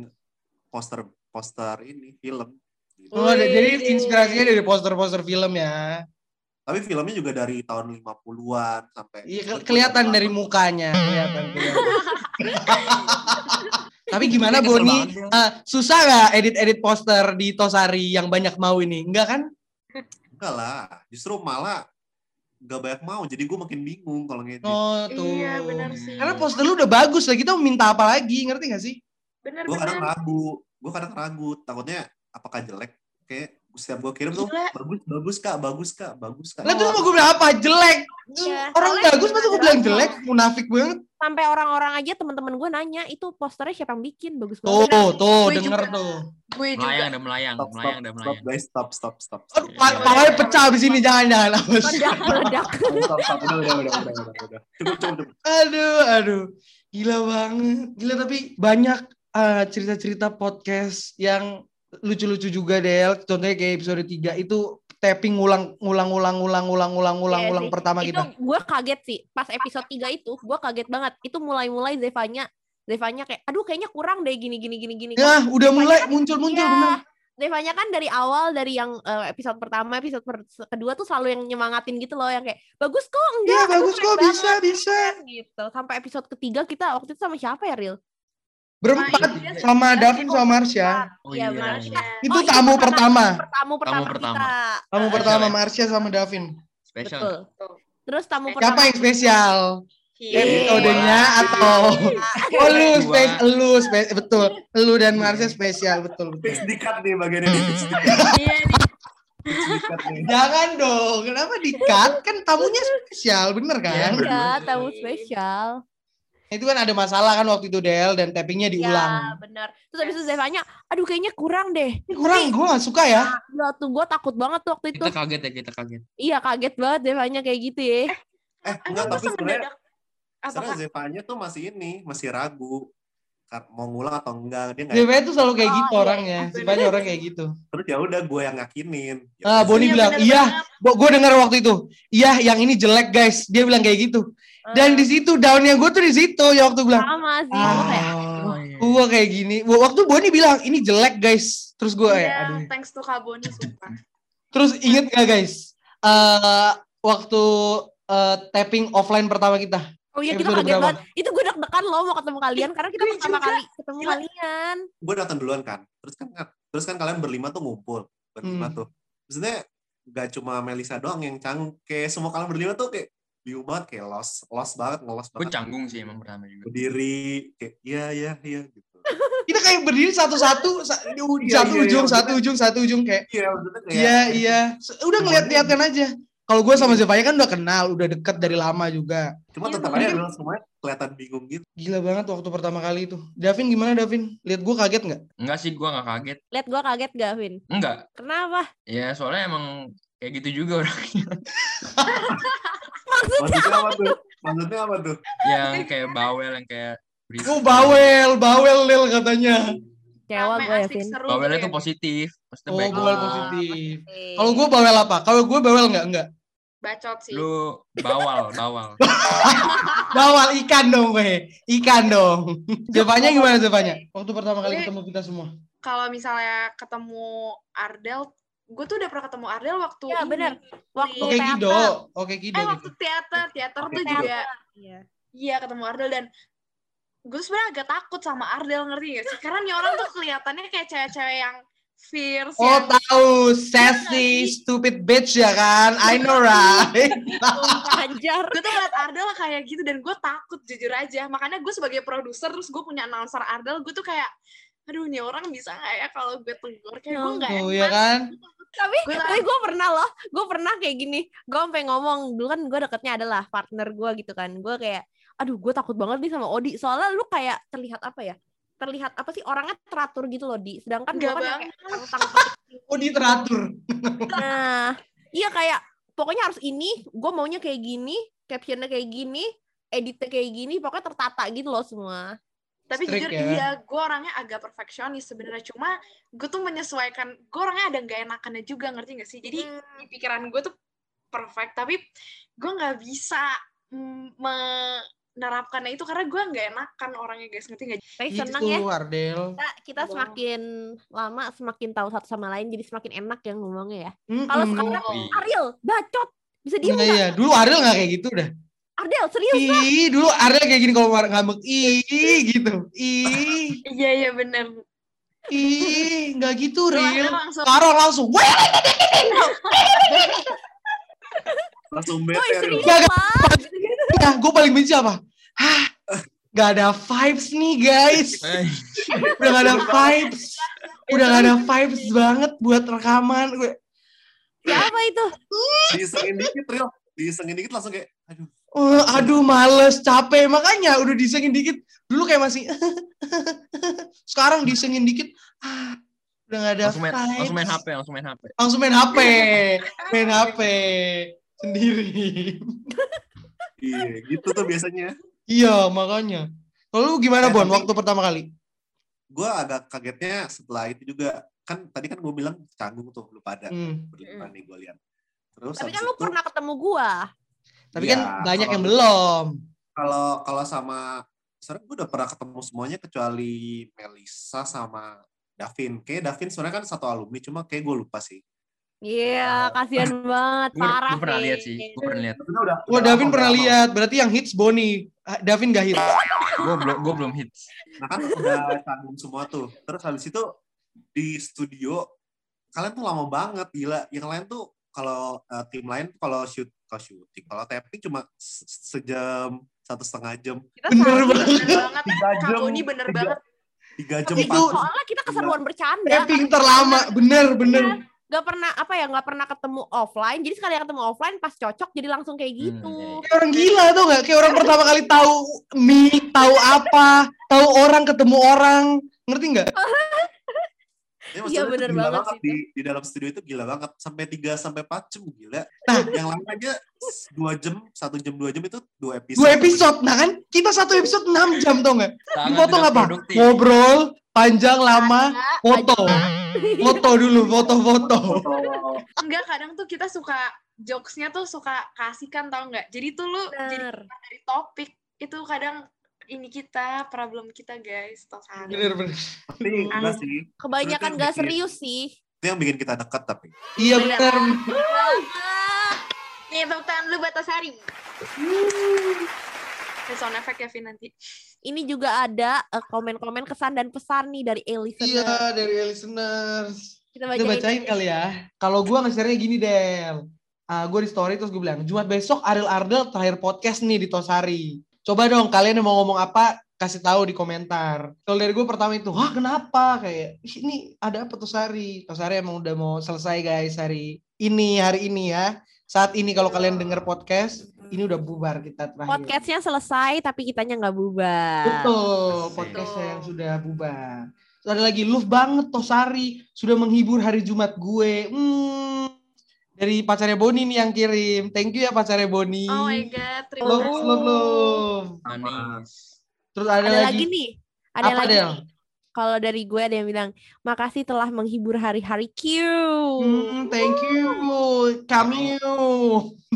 Speaker 5: poster poster ini film. Gitu.
Speaker 3: Oh, ada- jadi inspirasinya dari poster-poster film ya.
Speaker 5: Tapi filmnya juga dari tahun 50-an sampai
Speaker 3: Iya, ke- kelihatan dari mukanya. Kelihatan, kelihatan. Tapi gimana
Speaker 4: Ini kesel
Speaker 3: Boni?
Speaker 4: banget, Bel.
Speaker 3: Eh, susah nggak edit-edit poster di Tosari yang banyak mau ini? Enggak kan?
Speaker 5: Enggak lah, justru malah gak banyak mau. Jadi gue makin bingung kalau ngedit.
Speaker 3: Oh, tuh.
Speaker 1: Iya, benar sih.
Speaker 3: Karena poster lu udah bagus lah. Kita mau minta apa lagi? Ngerti gak sih?
Speaker 1: benar
Speaker 5: Gue kadang
Speaker 1: benar.
Speaker 5: ragu, gue kadang ragu. Takutnya apakah jelek kayak setiap gue kirim tuh
Speaker 1: Gila.
Speaker 5: bagus bagus kak bagus kak bagus kak
Speaker 3: Lah tuh mau gue bilang apa? Jelek.
Speaker 2: Iya,
Speaker 3: Orang
Speaker 2: soalnya ya?
Speaker 3: bagus
Speaker 1: ya?
Speaker 3: masa gue bilang jelek? Munafik banget.
Speaker 2: Sampai orang-orang aja teman-teman gue nanya itu posternya siapa yang bikin bagus
Speaker 3: Tuh,
Speaker 2: banget.
Speaker 3: tuh,
Speaker 1: Gue
Speaker 3: denger
Speaker 1: Iya, juga. Iya,
Speaker 3: tuh.
Speaker 1: Gue juga.
Speaker 4: melayang dan melayang
Speaker 5: stop stop
Speaker 4: melayang dan
Speaker 5: Nah, stop
Speaker 4: melayang
Speaker 5: guys stop stop stop
Speaker 3: Aduh,
Speaker 5: stop
Speaker 3: pa- Palanya pecah abis ini, jangan, jangan. Awas.
Speaker 2: Meledak, meledak.
Speaker 5: stop stop udah udah udah udah udah udah cukup cukup cukup
Speaker 3: Aduh, aduh. Gila banget. Gila tapi banyak eh, cerita-cerita podcast yang lucu-lucu juga Del. Contohnya kayak episode 3 itu tapping ulang ulang ulang ulang ulang ulang ulang
Speaker 2: Iya
Speaker 3: ulang
Speaker 2: sih.
Speaker 3: pertama
Speaker 2: itu
Speaker 3: kita.
Speaker 2: gue kaget sih pas episode 3 itu gue kaget banget itu mulai-mulai Zevanya Zevanya kayak aduh kayaknya kurang deh gini gini gini gini
Speaker 3: Ya, udah mulai muncul-muncul
Speaker 2: Iya.
Speaker 3: benar.
Speaker 2: Zevanya kan dari awal dari yang eh, episode pertama episode per- kedua tuh selalu yang nyemangatin gitu loh yang kayak bagus kok
Speaker 3: Iya,
Speaker 2: enggak
Speaker 3: bagus
Speaker 2: aduh,
Speaker 3: kok,
Speaker 2: keren
Speaker 3: bisa, bisa.
Speaker 2: banget," gitu sampai episode ketiga kita waktu itu sama siapa ya Ril
Speaker 3: Berempat
Speaker 4: Nah, iya.
Speaker 3: sama Davin sama Marsha.
Speaker 4: Oh
Speaker 2: Iya,
Speaker 4: iya.
Speaker 2: benar.
Speaker 1: Marsha.
Speaker 3: Itu
Speaker 2: itu
Speaker 3: tamu pertama.
Speaker 2: tamu pertama
Speaker 4: Tamu pertama.
Speaker 2: kita
Speaker 3: Tamu
Speaker 2: Eh,
Speaker 3: pertama
Speaker 4: iya.
Speaker 3: Marsha sama Davin.
Speaker 4: spesial
Speaker 2: betul terus
Speaker 1: Siapa
Speaker 2: tamu pertama
Speaker 3: Siapa yang spesial?
Speaker 1: Iya.
Speaker 3: Eh, Episodenya
Speaker 4: Wah.
Speaker 3: atau Oh lu spes-
Speaker 4: Dua.
Speaker 3: lu spes- betul. Lu dan Marsha spesial betul. betul.
Speaker 5: fix dikat nih bagian ini
Speaker 3: Hmm.
Speaker 5: fix dikat
Speaker 1: Iya,
Speaker 5: fix dikat nih Eh,
Speaker 3: Jangan dong, kenapa di-cut? Kan tamunya spesial, bener kan?
Speaker 4: Iya.
Speaker 2: Iya, tamu spesial
Speaker 3: Itu kan ada masalah kan waktu itu Del dan tappingnya
Speaker 2: Iya
Speaker 3: diulang.
Speaker 2: benar. Terus habis itu Zevanya, aduh kayaknya kurang deh.
Speaker 3: Ini kurang, gue gak suka ya.
Speaker 2: Gila tuh gue takut banget tuh waktu itu.
Speaker 4: kita kaget ya kita kaget
Speaker 2: Iya kaget banget Zevanya kayak gitu ya.
Speaker 5: eh enggak
Speaker 1: Enggak,
Speaker 5: tapi
Speaker 1: masa
Speaker 5: sebenarnya
Speaker 1: mendadak. Apa
Speaker 5: sebenarnya Zevanya tuh masih ini masih ragu Kar- mau ngulang atau enggak dia nggak
Speaker 3: Zevanya tuh selalu kayak
Speaker 2: Oh,
Speaker 3: gitu
Speaker 2: iya.
Speaker 3: orangnya. Zevanya orang kayak gitu.
Speaker 5: terus ya udah gue yang ngakinin Ya
Speaker 3: Ah,
Speaker 5: udah,
Speaker 3: Boni
Speaker 5: Zep.
Speaker 3: bilang, iya, gue dengar waktu itu. Iya, yang ini jelek guys. Dia bilang kayak gitu.
Speaker 2: Ah.
Speaker 3: Dan di situ daunnya gue tuh di situ ya waktu bilang.
Speaker 2: sama sih. gua kayak,
Speaker 3: Ah,
Speaker 4: iya.
Speaker 3: gue kayak gini. Waktu Boni bilang ini jelek guys. Terus gue,
Speaker 1: Iya,
Speaker 3: eh, aduh.
Speaker 1: thanks to Kaboni, sumpah.
Speaker 3: Terus inget gak guys? Eh waktu eh, tapping offline pertama kita.
Speaker 2: Oh iya kita
Speaker 3: Episode
Speaker 2: kaget
Speaker 3: berapa?
Speaker 2: banget. Itu gue deg-degan loh mau ketemu kalian karena kita
Speaker 1: Ih,
Speaker 2: pertama
Speaker 1: juga.
Speaker 2: kali ketemu
Speaker 1: Gila.
Speaker 2: kalian.
Speaker 5: gue datang duluan kan terus kan terus kan kalian berlima tuh ngumpul berlima
Speaker 3: Hmm.
Speaker 5: tuh maksudnya gak cuma Melisa doang yang cangke semua kalian berlima tuh kayak bingung banget kayak lost lost banget ngelos
Speaker 4: gue
Speaker 5: banget
Speaker 4: canggung sih emang pertama juga
Speaker 5: berdiri kayak iya iya iya gitu
Speaker 3: Kita kayak berdiri satu-satu, sa- di u-
Speaker 5: Iya,
Speaker 3: satu
Speaker 5: iya, iya,
Speaker 3: ujung,
Speaker 5: maksudnya-
Speaker 3: satu ujung, satu ujung kayak.
Speaker 5: iya maksudnya kayak
Speaker 3: Iya, iya. Se- Udah ngeliat-liatkan aja. Kalau gue sama Zevanya kan udah kenal, udah deket dari lama juga.
Speaker 5: cuma
Speaker 2: Iya,
Speaker 5: tetap aja
Speaker 2: bener.
Speaker 5: dulu semuanya kelihatan bingung gitu
Speaker 3: Gila banget waktu pertama kali itu. Davin gimana Davin? Lihat gue kaget nggak?
Speaker 4: enggak sih gue nggak kaget
Speaker 2: Lihat gue kaget gak Vin?
Speaker 4: enggak
Speaker 2: Kenapa?
Speaker 4: ya soalnya emang kayak gitu juga orang
Speaker 2: Maksudnya
Speaker 5: maksudnya apa tuh maksudnya apa tuh
Speaker 4: yang kayak bawel yang kayak berisik.
Speaker 3: Gue bawel, bawel Lil katanya.
Speaker 1: Iya,
Speaker 2: kecewa
Speaker 1: Ramai,
Speaker 2: gue ya
Speaker 1: asik,
Speaker 2: Vin.
Speaker 1: seru gitu
Speaker 4: bawelnya tuh
Speaker 1: ya.
Speaker 4: positif positif
Speaker 3: Oh,
Speaker 4: baik
Speaker 3: bawel
Speaker 4: doang.
Speaker 3: positif. Kalau gue bawel apa? Kalau gue bawel nggak? Nggak.
Speaker 1: Bacot sih.
Speaker 4: lu bawal bawal
Speaker 3: Bawal ikan dong gue. Ikan dong. Zevanya gimana Zevanya? Waktu pertama kali
Speaker 1: Gue-
Speaker 3: ketemu kita semua.
Speaker 1: Kalau misalnya ketemu Ardel, gue tuh udah pernah ketemu Ardel waktu
Speaker 2: Iya,
Speaker 1: ini.
Speaker 2: bener. Waktu
Speaker 1: Iya.
Speaker 3: Oke
Speaker 2: teater.
Speaker 3: Kido, oke Kido.
Speaker 1: Eh, waktu teater. Teater
Speaker 5: Oke,
Speaker 1: tuh
Speaker 5: teater.
Speaker 1: juga
Speaker 2: Iya.
Speaker 1: Iya ketemu Ardel dan gue tuh sebenarnya agak takut sama Ardel ngerti gak sih? Karena nih orang tuh kelihatannya kayak cewek-cewek yang fierce,
Speaker 3: Oh
Speaker 1: yang
Speaker 3: tahu, sassy, stupid bitch ya kan? I know right.
Speaker 2: Sumpah, Anjar.
Speaker 1: gue tuh ngeliat Ardel kayak gitu dan gue takut jujur aja. Makanya gue sebagai produser terus gue punya announcer Ardel, gue tuh kayak aduh nih orang bisa gak ya kalau gue tegur kayak gue nggak enak.
Speaker 3: Tuh ya kan?
Speaker 2: tapi
Speaker 1: Gua
Speaker 2: tapi gue pernah loh gue pernah kayak gini gue sampai ngomong dulu kan gue deketnya adalah partner gue gitu kan gue kayak aduh gue takut banget nih sama Odi soalnya lu kayak terlihat apa ya terlihat apa sih orangnya teratur gitu loh di sedangkan
Speaker 1: Enggak
Speaker 2: gue kan yang
Speaker 1: banget.
Speaker 2: kayak tang-tang petik.
Speaker 3: Oh diteratur.
Speaker 2: nah iya kayak pokoknya harus ini gue maunya kayak gini captionnya kayak gini editnya kayak gini pokoknya tertata gitu loh semua
Speaker 1: Tapi jujur
Speaker 3: Strict ya.
Speaker 1: iya gue orangnya agak perfeksionis sebenarnya cuma gue tuh menyesuaikan gue orangnya ada nggak enakannya juga ngerti gak sih? Jadi
Speaker 2: Hmm.
Speaker 1: di pikiran gue tuh perfect tapi gue nggak bisa mm, menerapkannya itu karena gue nggak enakan orangnya guys ngerti nggak
Speaker 2: tapi
Speaker 3: Gitu,
Speaker 2: senang ya
Speaker 3: Itu Ardel.
Speaker 2: kita, kita
Speaker 1: Seneng.
Speaker 2: semakin lama semakin tahu satu sama lain jadi semakin enak yang ngomongnya ya kalau
Speaker 3: Mm-mm.
Speaker 2: sekarang
Speaker 4: Iya.
Speaker 2: Ariel bacot bisa diem
Speaker 3: Iya,
Speaker 2: nggak
Speaker 3: iya. Dulu Ardel nggak kayak gitu dah.
Speaker 2: Ardel serius
Speaker 3: Ih, dulu Ardel kayak gini kalau mar- ngambek. Ih, gitu. Ih,
Speaker 1: iya iya benar
Speaker 3: ih, nggak gitu,
Speaker 1: Ardel
Speaker 3: Ril.
Speaker 1: langsung
Speaker 3: Sekarang langsung, wah, Iya, Oh,
Speaker 5: langsung
Speaker 2: Woi
Speaker 5: bete
Speaker 2: serius
Speaker 3: Gak, gak.
Speaker 2: Pak.
Speaker 3: gue paling benci apa? Hah, nggak ada vibes nih guys.
Speaker 4: Eh,
Speaker 3: Udah gak ada vibes. udah gak ada vibes banget buat rekaman gue
Speaker 2: Siapa
Speaker 3: Iya.
Speaker 2: itu?
Speaker 5: Disengin dikit, Ril. Disengin dikit langsung kayak, aduh.
Speaker 3: "Wah, Eh, aduh males capek makanya udah disengin dikit dulu kayak masih sekarang disengin dikit ah, udah gak ada
Speaker 4: Langsung main,
Speaker 3: vibes.
Speaker 4: langsung main HP, langsung main HP.
Speaker 3: langsung main HP main HP sendiri
Speaker 5: Iya, gitu tuh biasanya.
Speaker 3: iya makanya lalu gimana
Speaker 5: Eh,
Speaker 3: Bon
Speaker 5: tapi-
Speaker 3: waktu pertama kali
Speaker 5: Gue agak kagetnya setelah itu juga. Kan tadi kan gue bilang canggung tuh, lu pada.
Speaker 3: Hmm.
Speaker 5: Berdepan nih gue lihat. Terus
Speaker 2: Tapi
Speaker 5: habis
Speaker 2: kan lu
Speaker 3: Iya.
Speaker 5: itu,
Speaker 2: pernah ketemu gua.
Speaker 3: tapi
Speaker 5: Iya,
Speaker 3: kan banyak
Speaker 5: kalau-
Speaker 3: yang belum
Speaker 5: Kalau kalau sama, sekarang gue udah pernah ketemu semuanya kecuali Melisa sama Davin. Kayak Davin sebenarnya kan satu alumni, cuma kayak gue lupa sih.
Speaker 2: Iya, kasihan banget,
Speaker 4: Gue
Speaker 2: parah.
Speaker 4: gue pernah
Speaker 2: sih.
Speaker 4: lihat sih, gue pernah lihat.
Speaker 5: Davin udah.
Speaker 3: Wah,
Speaker 5: udah
Speaker 3: Davin
Speaker 5: lama,
Speaker 3: pernah
Speaker 5: udah lama.
Speaker 3: lihat. Berarti yang hits Boni. Ah, Davin gak hits.
Speaker 4: Gue belum gue belum hits.
Speaker 5: Nah kan udah canggung semua tuh. Terus habis itu di studio kalian tuh lama banget gila. Yang lain tuh kalau eh, tim lain tuh kalau shoot kalau syuting kalau tapping cuma se- sejam satu setengah jam
Speaker 1: Kita
Speaker 3: Bener
Speaker 1: salah,
Speaker 3: banget.
Speaker 1: banget. ya,
Speaker 5: Tiga
Speaker 1: Kak
Speaker 5: jam,
Speaker 1: Boni bener
Speaker 5: tiga-
Speaker 1: banget.
Speaker 5: tiga jam
Speaker 2: Tapi
Speaker 3: Itu-
Speaker 5: empat
Speaker 2: soalnya kita keseruan bercanda.
Speaker 3: Tapping terlama. Bener, bener.
Speaker 2: Gak pernah apa ya gak pernah ketemu offline. Jadi sekali ketemu offline pas cocok jadi langsung
Speaker 3: Hmm,
Speaker 2: kayak gitu.
Speaker 4: iya, iya.
Speaker 3: Kayak orang gila tau gak? Kayak orang pertama kali tahu mie, tahu apa, tahu orang, ketemu orang. Ngerti gak?
Speaker 5: Ya, maksudnya
Speaker 2: Iya,
Speaker 5: itu
Speaker 2: bener
Speaker 5: gila
Speaker 2: banget sih
Speaker 5: di, di dalam studio itu gila banget sampai tiga sampai empat jam
Speaker 2: Iya,
Speaker 5: gila.
Speaker 3: Nah.
Speaker 5: yang lain aja s- dua jam satu jam dua jam itu dua episode.
Speaker 3: Dua episode. Nah kan, kita satu episode 6 jam tau gak?
Speaker 4: Sangat
Speaker 3: Dipotong
Speaker 4: tidak
Speaker 3: apa?
Speaker 4: produktif.
Speaker 3: Ngobrol, panjang, lama,
Speaker 1: Enggak,
Speaker 3: foto. Foto dulu, foto-foto.
Speaker 1: enggak kadang tuh kita suka jokesnya tuh suka kasihkan tau nggak? Jadi tuh lu jadi
Speaker 2: Bener.
Speaker 1: keluar dari topik itu kadang ini kita problem kita guys tau kan?
Speaker 3: Bener, bener.
Speaker 5: Tapi enggak sih.
Speaker 2: Kebanyakan
Speaker 5: Terus dia
Speaker 2: gak
Speaker 5: bikin-
Speaker 2: serius sih.
Speaker 5: Itu yang bikin kita dekat tapi.
Speaker 3: Iya bener.
Speaker 1: Nih tepuk tangan lu Batasari. Ini sound effect Kevin nanti.
Speaker 2: Ini juga ada eh, komen-komen kesan dan pesan nih dari Elisa.
Speaker 3: Iya, dari listeners.
Speaker 2: Kita
Speaker 3: Kita bacain kali ya. Kalau gue nge-share-nya gini, Del. Ah, gue di story terus gue bilang, Jumat besok Ariel Ardel terakhir podcast nih di Tosari. Coba dong kalian yang mau ngomong apa, kasih tahu di komentar. Kalau dari gue pertama itu, wah kenapa? Kayak, "Ih, ini ada apa Tosari? Tosari emang udah mau selesai guys hari ini, hari ini ya. Saat ini kalau kalian denger podcast, ini udah bubar kita terakhir.
Speaker 2: Podcastnya selesai tapi kitanya nggak bubar.
Speaker 3: Betul,
Speaker 4: Asik.
Speaker 3: podcast
Speaker 1: Betul.
Speaker 3: yang sudah bubar. Terus ada lagi, love banget Tosari, sudah menghibur hari Jumat gue. Hmm, dari pacarnya Boni nih yang kirim. Thank you ya pacarnya Boni.
Speaker 1: Oh my god, terima
Speaker 3: Love,
Speaker 1: kasih.
Speaker 3: love, love.
Speaker 4: Manis.
Speaker 3: Terus ada,
Speaker 2: Ada,
Speaker 3: lagi,
Speaker 2: lagi nih. Ada
Speaker 3: Apa,
Speaker 2: lagi
Speaker 3: Del?
Speaker 2: nih. Kalau dari gue ada yang bilang, makasih telah menghibur hari-hari Q.
Speaker 3: Hmm, thank you, kami.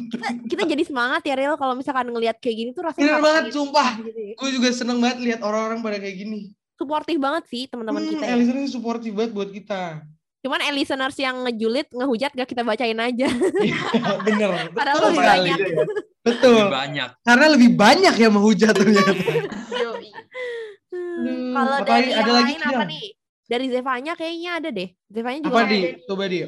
Speaker 2: Kita, kita jadi semangat ya Ril kalau misalkan ngelihat kayak gini tuh rasanya
Speaker 3: Bener
Speaker 2: happy
Speaker 3: banget, sumpah.
Speaker 2: gitu ya.
Speaker 3: Gue juga seneng banget lihat orang-orang pada kayak gini.
Speaker 2: Supportive banget sih teman-teman
Speaker 3: hmm,
Speaker 2: kita. ya.
Speaker 3: Elisa ini supportive banget buat kita.
Speaker 2: Cuman eh, listeners yang ngejulit, ngehujat gak kita bacain aja.
Speaker 3: Iya, Bener,
Speaker 2: Padahal
Speaker 3: betul
Speaker 2: lebih
Speaker 3: sekali.
Speaker 2: banyak.
Speaker 3: Betul,
Speaker 4: Lebih banyak.
Speaker 3: karena lebih banyak yang menghujat ternyata.
Speaker 1: Yoi.
Speaker 3: Aduh,
Speaker 2: Kalau
Speaker 3: apa
Speaker 2: dari
Speaker 3: lagi-
Speaker 2: yang
Speaker 3: ada lagi
Speaker 2: lain apa
Speaker 3: Del?
Speaker 2: nih? Dari Zevanya kayaknya ada deh. Zevanya juga
Speaker 3: apa
Speaker 1: ada
Speaker 3: di
Speaker 1: nih.
Speaker 3: coba di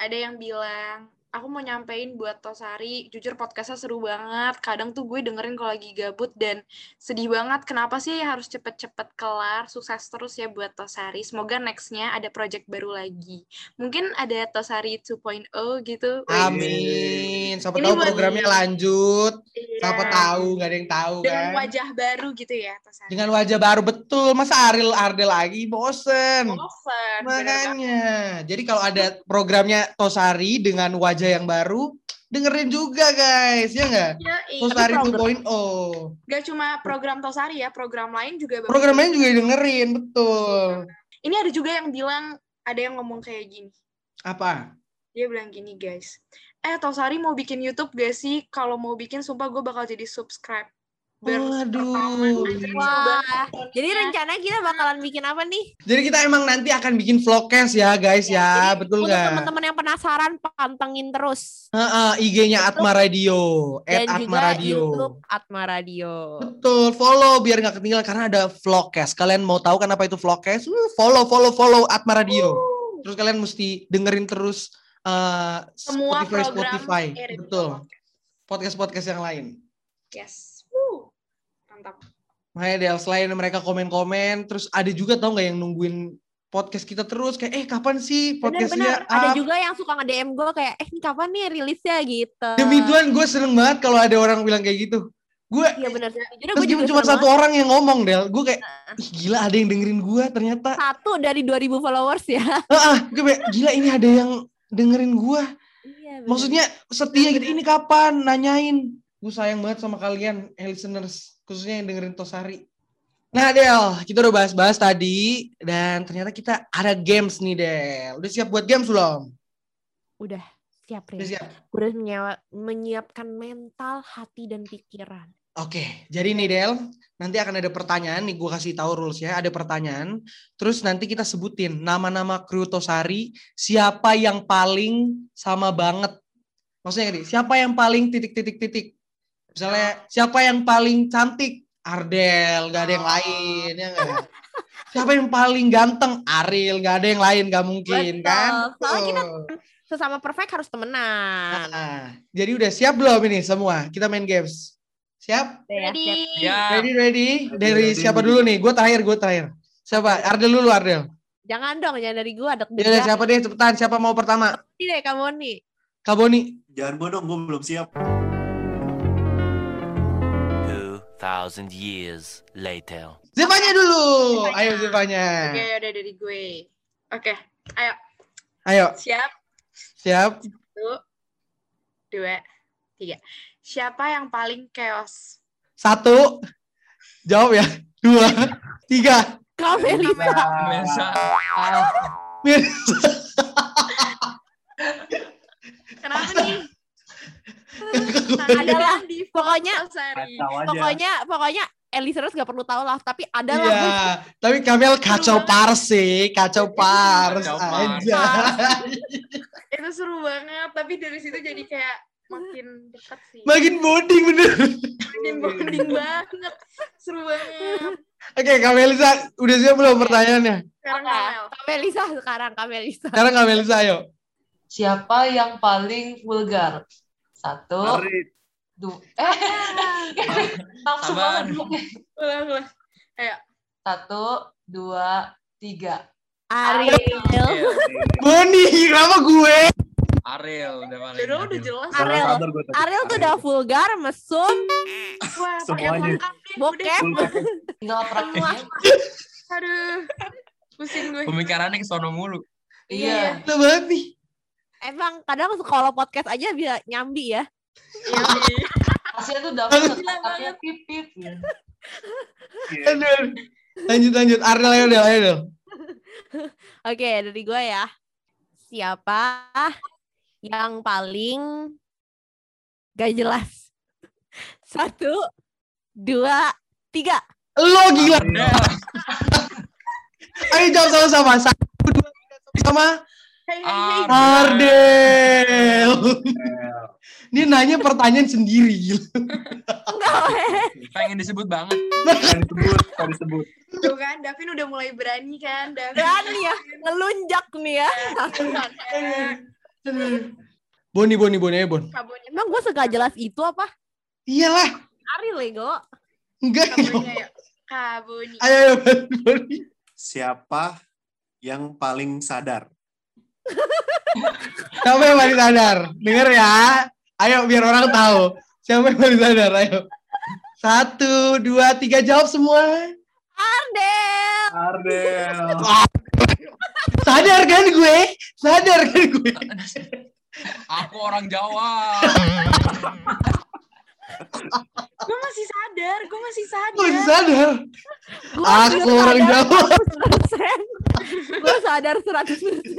Speaker 1: ada yang bilang aku mau nyampein buat Tosari jujur podcastnya seru banget kadang tuh gue dengerin kalau lagi gabut dan sedih banget kenapa sih harus cepet-cepet kelar sukses terus ya buat Tosari semoga nextnya ada project baru lagi mungkin ada Tosari 2.0 gitu
Speaker 3: amin siapa
Speaker 1: Ini
Speaker 3: tahu
Speaker 1: buat-
Speaker 3: programnya lanjut
Speaker 1: Iya.
Speaker 3: siapa tahu nggak ada yang tahu
Speaker 1: dengan
Speaker 3: kan
Speaker 1: wajah baru gitu ya Tosari
Speaker 3: dengan wajah baru betul masa Ariel Ardel lagi bosen
Speaker 1: Bosen, bener banget.
Speaker 3: makanya jadi kalau ada programnya Tosari dengan wajah yang baru dengerin juga guys ya nggak
Speaker 1: Yoi.
Speaker 3: Tosari oh.
Speaker 2: program-
Speaker 3: 2.0
Speaker 1: Iya, Gak cuma program Tosari ya, program lain juga. bagus.
Speaker 3: program lain juga dengerin betul
Speaker 1: Ini ada juga yang bilang, ada yang ngomong kayak gini.
Speaker 3: apa
Speaker 1: dia bilang gini guys eh Tosari mau bikin YouTube gak sih kalau mau bikin sumpah gue bakal jadi subscribe
Speaker 3: Waduh.
Speaker 2: Wah, jadi rencana kita bakalan bikin apa nih?
Speaker 3: jadi kita emang nanti akan bikin vlogcast ya guys ya,
Speaker 2: Iya, Jadi,
Speaker 3: betul
Speaker 2: Untuk
Speaker 3: nggak
Speaker 2: teman-teman yang penasaran, pantengin terus.
Speaker 3: Heeh, Eh, IG-nya Atma Radio,
Speaker 2: Dan
Speaker 3: at Atma
Speaker 2: juga
Speaker 3: Radio.
Speaker 2: YouTube Atma Radio.
Speaker 3: Betul, follow biar nggak ketinggalan karena ada vlogcast. Kalian mau tahu kan apa itu vlogcast? Uh, follow, follow, follow Atma
Speaker 2: Uh.
Speaker 3: Radio. Terus kalian mesti dengerin terus eh,
Speaker 1: semua
Speaker 3: Spotify,
Speaker 1: program
Speaker 3: Spotify.
Speaker 1: eh,
Speaker 3: Betul, podcast-podcast yang lain.
Speaker 1: yes Woo. mantap
Speaker 3: Makanya Del, selain mereka komen-komen, terus ada juga tau nggak yang nungguin podcast kita terus kayak eh kapan sih
Speaker 2: Bener-bener
Speaker 3: podcastnya
Speaker 2: ada
Speaker 3: up?
Speaker 2: juga yang suka nge-DM gue kayak eh ini kapan nih rilisnya gitu.
Speaker 3: Demi Tuhan gue seneng banget kalau ada orang bilang kayak gitu. Gue
Speaker 2: Iya benar. Sejujurnya
Speaker 3: terus
Speaker 2: gue juga
Speaker 3: cuma
Speaker 2: seneng
Speaker 3: satu
Speaker 2: banget.
Speaker 3: orang yang ngomong Del. Gue kayak Ih, gila ada yang dengerin gue ternyata.
Speaker 2: satu dari 2000 followers ya.
Speaker 3: Heeh, gue kayak, ah, gila ini ada yang dengerin gue.
Speaker 2: Iya. bener.
Speaker 3: Maksudnya setia gitu. Ini kapan? Nanyain. Gue sayang banget sama kalian, eh, listeners. Khususnya yang dengerin Tosari. Nah Del, kita udah bahas-bahas tadi. Dan ternyata kita ada games nih Del. Udah siap buat games belum?
Speaker 2: udah siap
Speaker 3: Udah
Speaker 2: Ril.
Speaker 3: siap?
Speaker 2: Gue udah menyewa- menyiapkan mental, hati dan pikiran.
Speaker 3: Oke, jadi nih Del, nanti akan ada pertanyaan nih gue kasih tahu rules ya, ada pertanyaan. Terus nanti kita sebutin nama-nama kru Tosari, siapa yang paling sama banget. Maksudnya gini, siapa yang paling titik-titik-titik. Misalnya siapa yang paling cantik? Ardel, gak ada yang lain ya nggak? Siapa yang paling ganteng? Aril, gak ada yang lain, gak mungkin
Speaker 2: Betul.
Speaker 3: kan?
Speaker 2: Soalnya kita
Speaker 3: Betul.
Speaker 2: sesama perfect harus temenan.
Speaker 3: Nah, jadi udah siap belum ini semua? Kita main games. Siap?
Speaker 2: Ready?
Speaker 4: Ya,
Speaker 3: Ready, ready. Dari
Speaker 5: ready.
Speaker 3: siapa dulu nih? Gue terakhir, gue terakhir. Siapa? Ardel dulu, Ardel.
Speaker 2: Jangan dong, jangan dari gue ada
Speaker 3: Ya, udah, siapa deh? Cepetan, siapa mau pertama?
Speaker 2: Ini deh kamu nih.
Speaker 3: Kaboni.
Speaker 5: Jangan gue dong, gue belum siap.
Speaker 2: Oh,
Speaker 11: 2000 years later.
Speaker 3: Zevanya dulu. Ayo Zevanya.
Speaker 1: Oke, Ya, udah dari gue. Oke, ayo.
Speaker 3: Ayo,
Speaker 1: Siap?
Speaker 3: siap.
Speaker 1: Satu, dua, tiga. Siapa yang paling chaos?
Speaker 3: Satu. Jawab ya. Dua. Tiga.
Speaker 2: Kau Melisa.
Speaker 4: Melsa.
Speaker 3: Mirza.
Speaker 1: Kenapa nih? kan
Speaker 2: Adalah. Pokoknya,
Speaker 1: Sari.
Speaker 5: Kacau aja.
Speaker 2: pokoknya, pokoknya Elisa terus gak perlu tahu lah. Tapi ada lah.
Speaker 3: Iya. Tapi Kamel kacau pars sih. Kacau pars
Speaker 4: Kacau pars.
Speaker 3: aja.
Speaker 1: Itu seru banget, tapi dari situ jadi kayak makin dekat sih.
Speaker 3: Makin bonding bener.
Speaker 1: Makin bonding banget. Seru banget.
Speaker 3: Oke, Kamelisa. Udah siap belum pertanyaannya?
Speaker 1: Sekarang
Speaker 2: Oke,
Speaker 1: Kamel.
Speaker 2: Kak Melisa sekarang, Kak Melisa.
Speaker 3: Sekarang Kamelisa, ayo.
Speaker 6: Siapa yang paling vulgar? Satu,
Speaker 5: Aril.
Speaker 6: dua. Eh, langsung
Speaker 4: Sabar.
Speaker 6: banget.
Speaker 1: Ulang, ulang.
Speaker 6: Satu, dua, tiga.
Speaker 2: Ariel.
Speaker 3: Boni, kenapa gue?
Speaker 4: Ariel udah paling.
Speaker 1: Jodoh udah
Speaker 4: Ariel.
Speaker 1: jelas.
Speaker 2: Aril.
Speaker 5: Sabar, sabar gua tadi.
Speaker 2: Ariel tuh
Speaker 3: gitu.
Speaker 2: udah vulgar, mesum,
Speaker 1: Wah, pakai
Speaker 5: Semuanya.
Speaker 1: lengkap deh. Udah.
Speaker 2: bokep.
Speaker 6: Tinggal prakteknya.
Speaker 1: Aduh. Pusing gue.
Speaker 4: Pemikirannya ke sono mulu.
Speaker 6: Iya.
Speaker 3: Gila banget nih.
Speaker 2: Emang kadang kalau podcast aja bisa nyambi ya.
Speaker 6: Hasilnya tuh dapet
Speaker 3: Gila
Speaker 6: prakteknya pipip.
Speaker 5: Iya.
Speaker 3: Aduh. Lanjut, lanjut. Ardel, ayo, Del, ayo, Del.
Speaker 2: Oke, dari gue ya. Siapa yang paling gak jelas? Satu, dua, tiga.
Speaker 3: Lo gila.
Speaker 4: Udah.
Speaker 3: Ayo jawab sama-sama. Satu, dua, tiga, sama.
Speaker 1: Hei, hei, hei.
Speaker 3: Ah.
Speaker 4: Ariel.
Speaker 3: Ardel. Dia nanya pertanyaan sendiri. Gila.
Speaker 2: Enggak, weh.
Speaker 4: Pengen disebut banget.
Speaker 5: Kan disebut, kan disebut.
Speaker 1: Tuh kan, Davin udah mulai berani kan. Davin.
Speaker 2: berani ya. Ngelunjak nih ya.
Speaker 3: Aduh. Boni, Boni, Boni, ayo, Bon.
Speaker 1: Kabonnya.
Speaker 2: Emang gue segak jelas itu apa?
Speaker 3: Iyalah.
Speaker 2: Ari Lego.
Speaker 3: Enggak.
Speaker 1: Kabonnya ya. Kaboni.
Speaker 3: Ayo, ayo, Bon, Boni.
Speaker 5: Siapa yang paling sadar?
Speaker 3: Siapa yang paling sadar? Dengar ya. Ayo, biar orang tahu. Siapa yang paling sadar? Ayo. Satu, dua, tiga. Jawab semua.
Speaker 2: Ardel.
Speaker 5: Ardel.
Speaker 3: Sadar kan gue? Sadar kan gue?
Speaker 4: Aku orang Jawa.
Speaker 1: Gue masih sadar. Gue masih sadar.
Speaker 3: Gue sadar.
Speaker 2: Gua
Speaker 3: Aku
Speaker 2: juga
Speaker 3: orang
Speaker 2: sadar
Speaker 3: Jawa.
Speaker 2: 100%. Gue sadar 100%.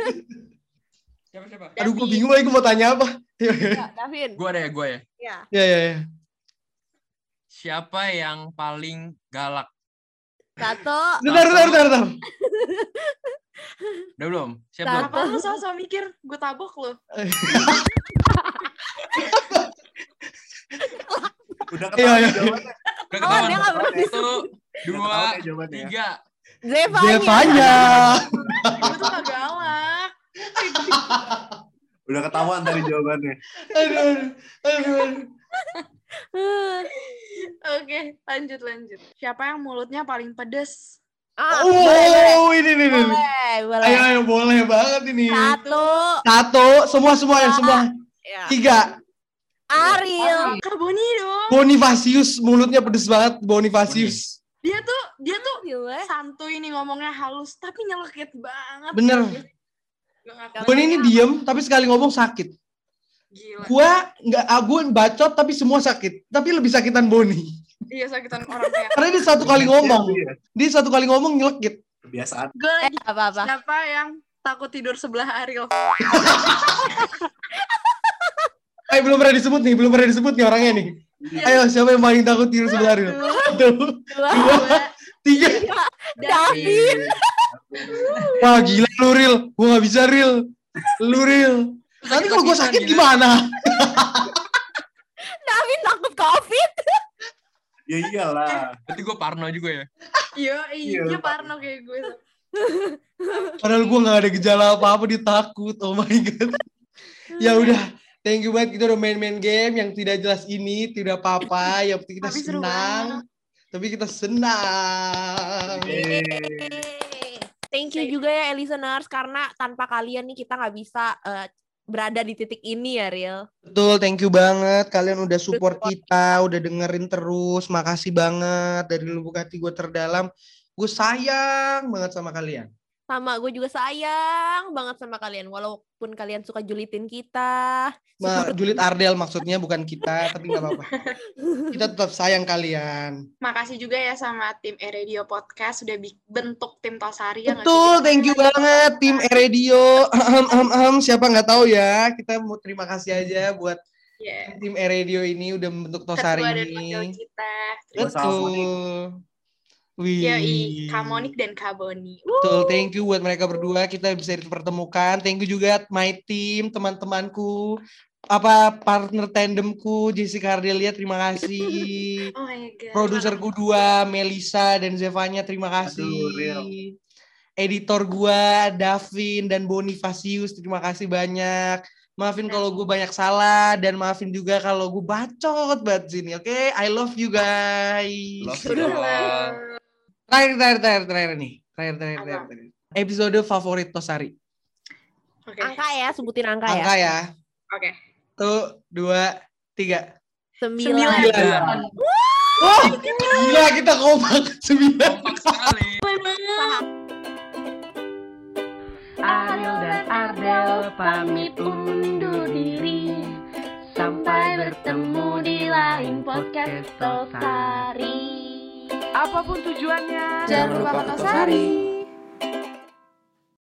Speaker 4: Siapa siapa?
Speaker 3: Aduh, gue bingung lagi gue mau tanya apa.
Speaker 2: Ya, Davin.
Speaker 4: Gue deh, gue ya.
Speaker 2: Ya.
Speaker 3: Ya, ya, ya.
Speaker 4: Siapa yang paling galak?
Speaker 2: Satu,
Speaker 3: Bentar, bentar, bentar, bentar.
Speaker 4: Udah belum? Siap
Speaker 2: Nah.
Speaker 4: belum?
Speaker 1: Apa lu sama-sama mikir? Gue tabok lu.
Speaker 5: Udah
Speaker 3: Iya,
Speaker 5: ketahuan
Speaker 3: iya.
Speaker 5: jawabannya.
Speaker 2: Oh,
Speaker 4: Udah ketahuan.
Speaker 2: dia nggak pernah
Speaker 4: Satu,
Speaker 5: Udah
Speaker 4: dua,
Speaker 5: ketahuan ya jawabannya.
Speaker 4: tiga.
Speaker 2: Eh, Zevanya.
Speaker 3: Jevanya.
Speaker 1: Gue tuh gak galak.
Speaker 5: Udah ketahuan tadi jawabannya.
Speaker 3: Aduh, aduh, aduh.
Speaker 2: Hmm.
Speaker 1: Oke, lanjut lanjut. Siapa yang mulutnya paling pedes?
Speaker 2: Ah,
Speaker 3: Oh,
Speaker 2: boleh, boleh.
Speaker 3: ini nih. nih.
Speaker 2: Boleh, boleh.
Speaker 3: iya, Ayo, ayo, boleh banget ini.
Speaker 2: Satu, Ah,
Speaker 3: Satu, semua semua yang semua. Iya. Tiga.
Speaker 2: Ariel.
Speaker 1: Kak Boni dong.
Speaker 3: Bonifacius mulutnya pedes banget Bonifacius.
Speaker 1: Dia tuh dia tuh
Speaker 3: Eh.
Speaker 1: santuy nih ngomongnya halus tapi nyeleket banget.
Speaker 3: Bener.
Speaker 1: Gua ngaku.
Speaker 3: Boni ini diem tapi sekali ngomong sakit.
Speaker 1: Gila.
Speaker 3: Gua nggak abu bacot tapi semua sakit. Tapi lebih sakitan Boni.
Speaker 1: Iya sakitan orang kayak.
Speaker 3: Karena dia satu kali ngomong. Dia satu kali ngomong nyelekit.
Speaker 5: Iya, Kebiasaan.
Speaker 1: Gue
Speaker 2: Eh,
Speaker 1: lagi "Eh,
Speaker 2: apa-apa.
Speaker 1: siapa yang takut tidur sebelah Ariel?
Speaker 3: Eh belum pernah disebut nih, belum pernah disebut nih orangnya nih.
Speaker 1: Eh,
Speaker 3: Ayo siapa yang paling takut tidur sebelah Ariel? Satu,
Speaker 2: Dua.
Speaker 3: dua, tiga.
Speaker 2: David.
Speaker 3: Wah gila lu Ril, gua nggak bisa Ril. Lu Ril. Nanti kalau gua sakit gimana?
Speaker 2: David takut COVID.
Speaker 5: Ya iyalah.
Speaker 4: Berarti gue parno juga ya.
Speaker 1: Yo,
Speaker 5: Iya,
Speaker 1: iya, dia
Speaker 5: lu
Speaker 1: parno kayak gue.
Speaker 3: Padahal gua nggak ada gejala apa-apa dia takut. Oh my god. Ya udah, thank you banget kita udah main-main game yang tidak jelas ini, tidak apa-apa. Yang penting kita
Speaker 1: Tapi seru
Speaker 3: senang. Tapi kita senang. iya,
Speaker 2: Yeay. Thank you juga ya eh, listeners karena tanpa kalian nih kita nggak bisa eh, berada di titik ini ya Riel.
Speaker 3: Betul, thank you banget. Kalian udah support kita, udah dengerin terus. Makasih banget dari lubuk hati gue terdalam. Gue sayang banget sama kalian.
Speaker 2: Sama gue juga sayang banget sama kalian walaupun kalian suka julitin kita.
Speaker 3: Ma, Julid Ardel maksudnya bukan kita, tapi nggak apa-apa. Kita tetap sayang kalian.
Speaker 1: Makasih juga ya sama tim E-Radio Podcast sudah bi- bentuk tim Tosari ya nggak sih?
Speaker 3: Betul, thank you banget tim E E-Radio. Ahem, ahem, ahem. Siapa nggak tahu ya, kita mau terima kasih aja buat
Speaker 1: Iya.
Speaker 3: tim E-Radio ini udah membentuk Tosari
Speaker 1: Ketua dan wakil
Speaker 3: ini.
Speaker 1: kita.
Speaker 3: Betul.
Speaker 1: Yoi,
Speaker 3: Iya. Wih.
Speaker 1: Kak Monik dan Kak Boni.
Speaker 3: Betul, thank you buat mereka berdua kita bisa dipertemukan. Thank you juga my team, teman-temanku, apa partner tandemku Jessica Ardelia terima kasih.
Speaker 1: Oh my god.
Speaker 3: Produserku dua, Melisa dan Zevanya terima
Speaker 5: Aduh, Ril.
Speaker 3: kasih. Editor gua Davin dan Bonifacius terima kasih banyak. Maafin kalau gue banyak salah dan maafin juga kalau gue bacot banget sini. Oke, I love you guys.
Speaker 5: Love you.
Speaker 1: Udah.
Speaker 3: Terakhir, terakhir, terakhir, terakhir nih. Terakhir, terakhir,
Speaker 1: Apa?
Speaker 3: terakhir, terakhir. Episode favorit Tosari.
Speaker 1: Oke.
Speaker 2: Angka ya, sebutin angka,
Speaker 3: Angka
Speaker 2: ya.
Speaker 3: ya.
Speaker 1: Oke.
Speaker 3: Satu, dua, tiga.
Speaker 2: Sembilan.
Speaker 3: Sembilan. Wah, gila kita kompak. Sembilan.
Speaker 4: Kompak sekali.
Speaker 8: Ariel dan Ardel pamit undur diri Sampai bertemu di lain podcast Tosari
Speaker 10: Apapun tujuannya,
Speaker 8: Jangan lupa Tosari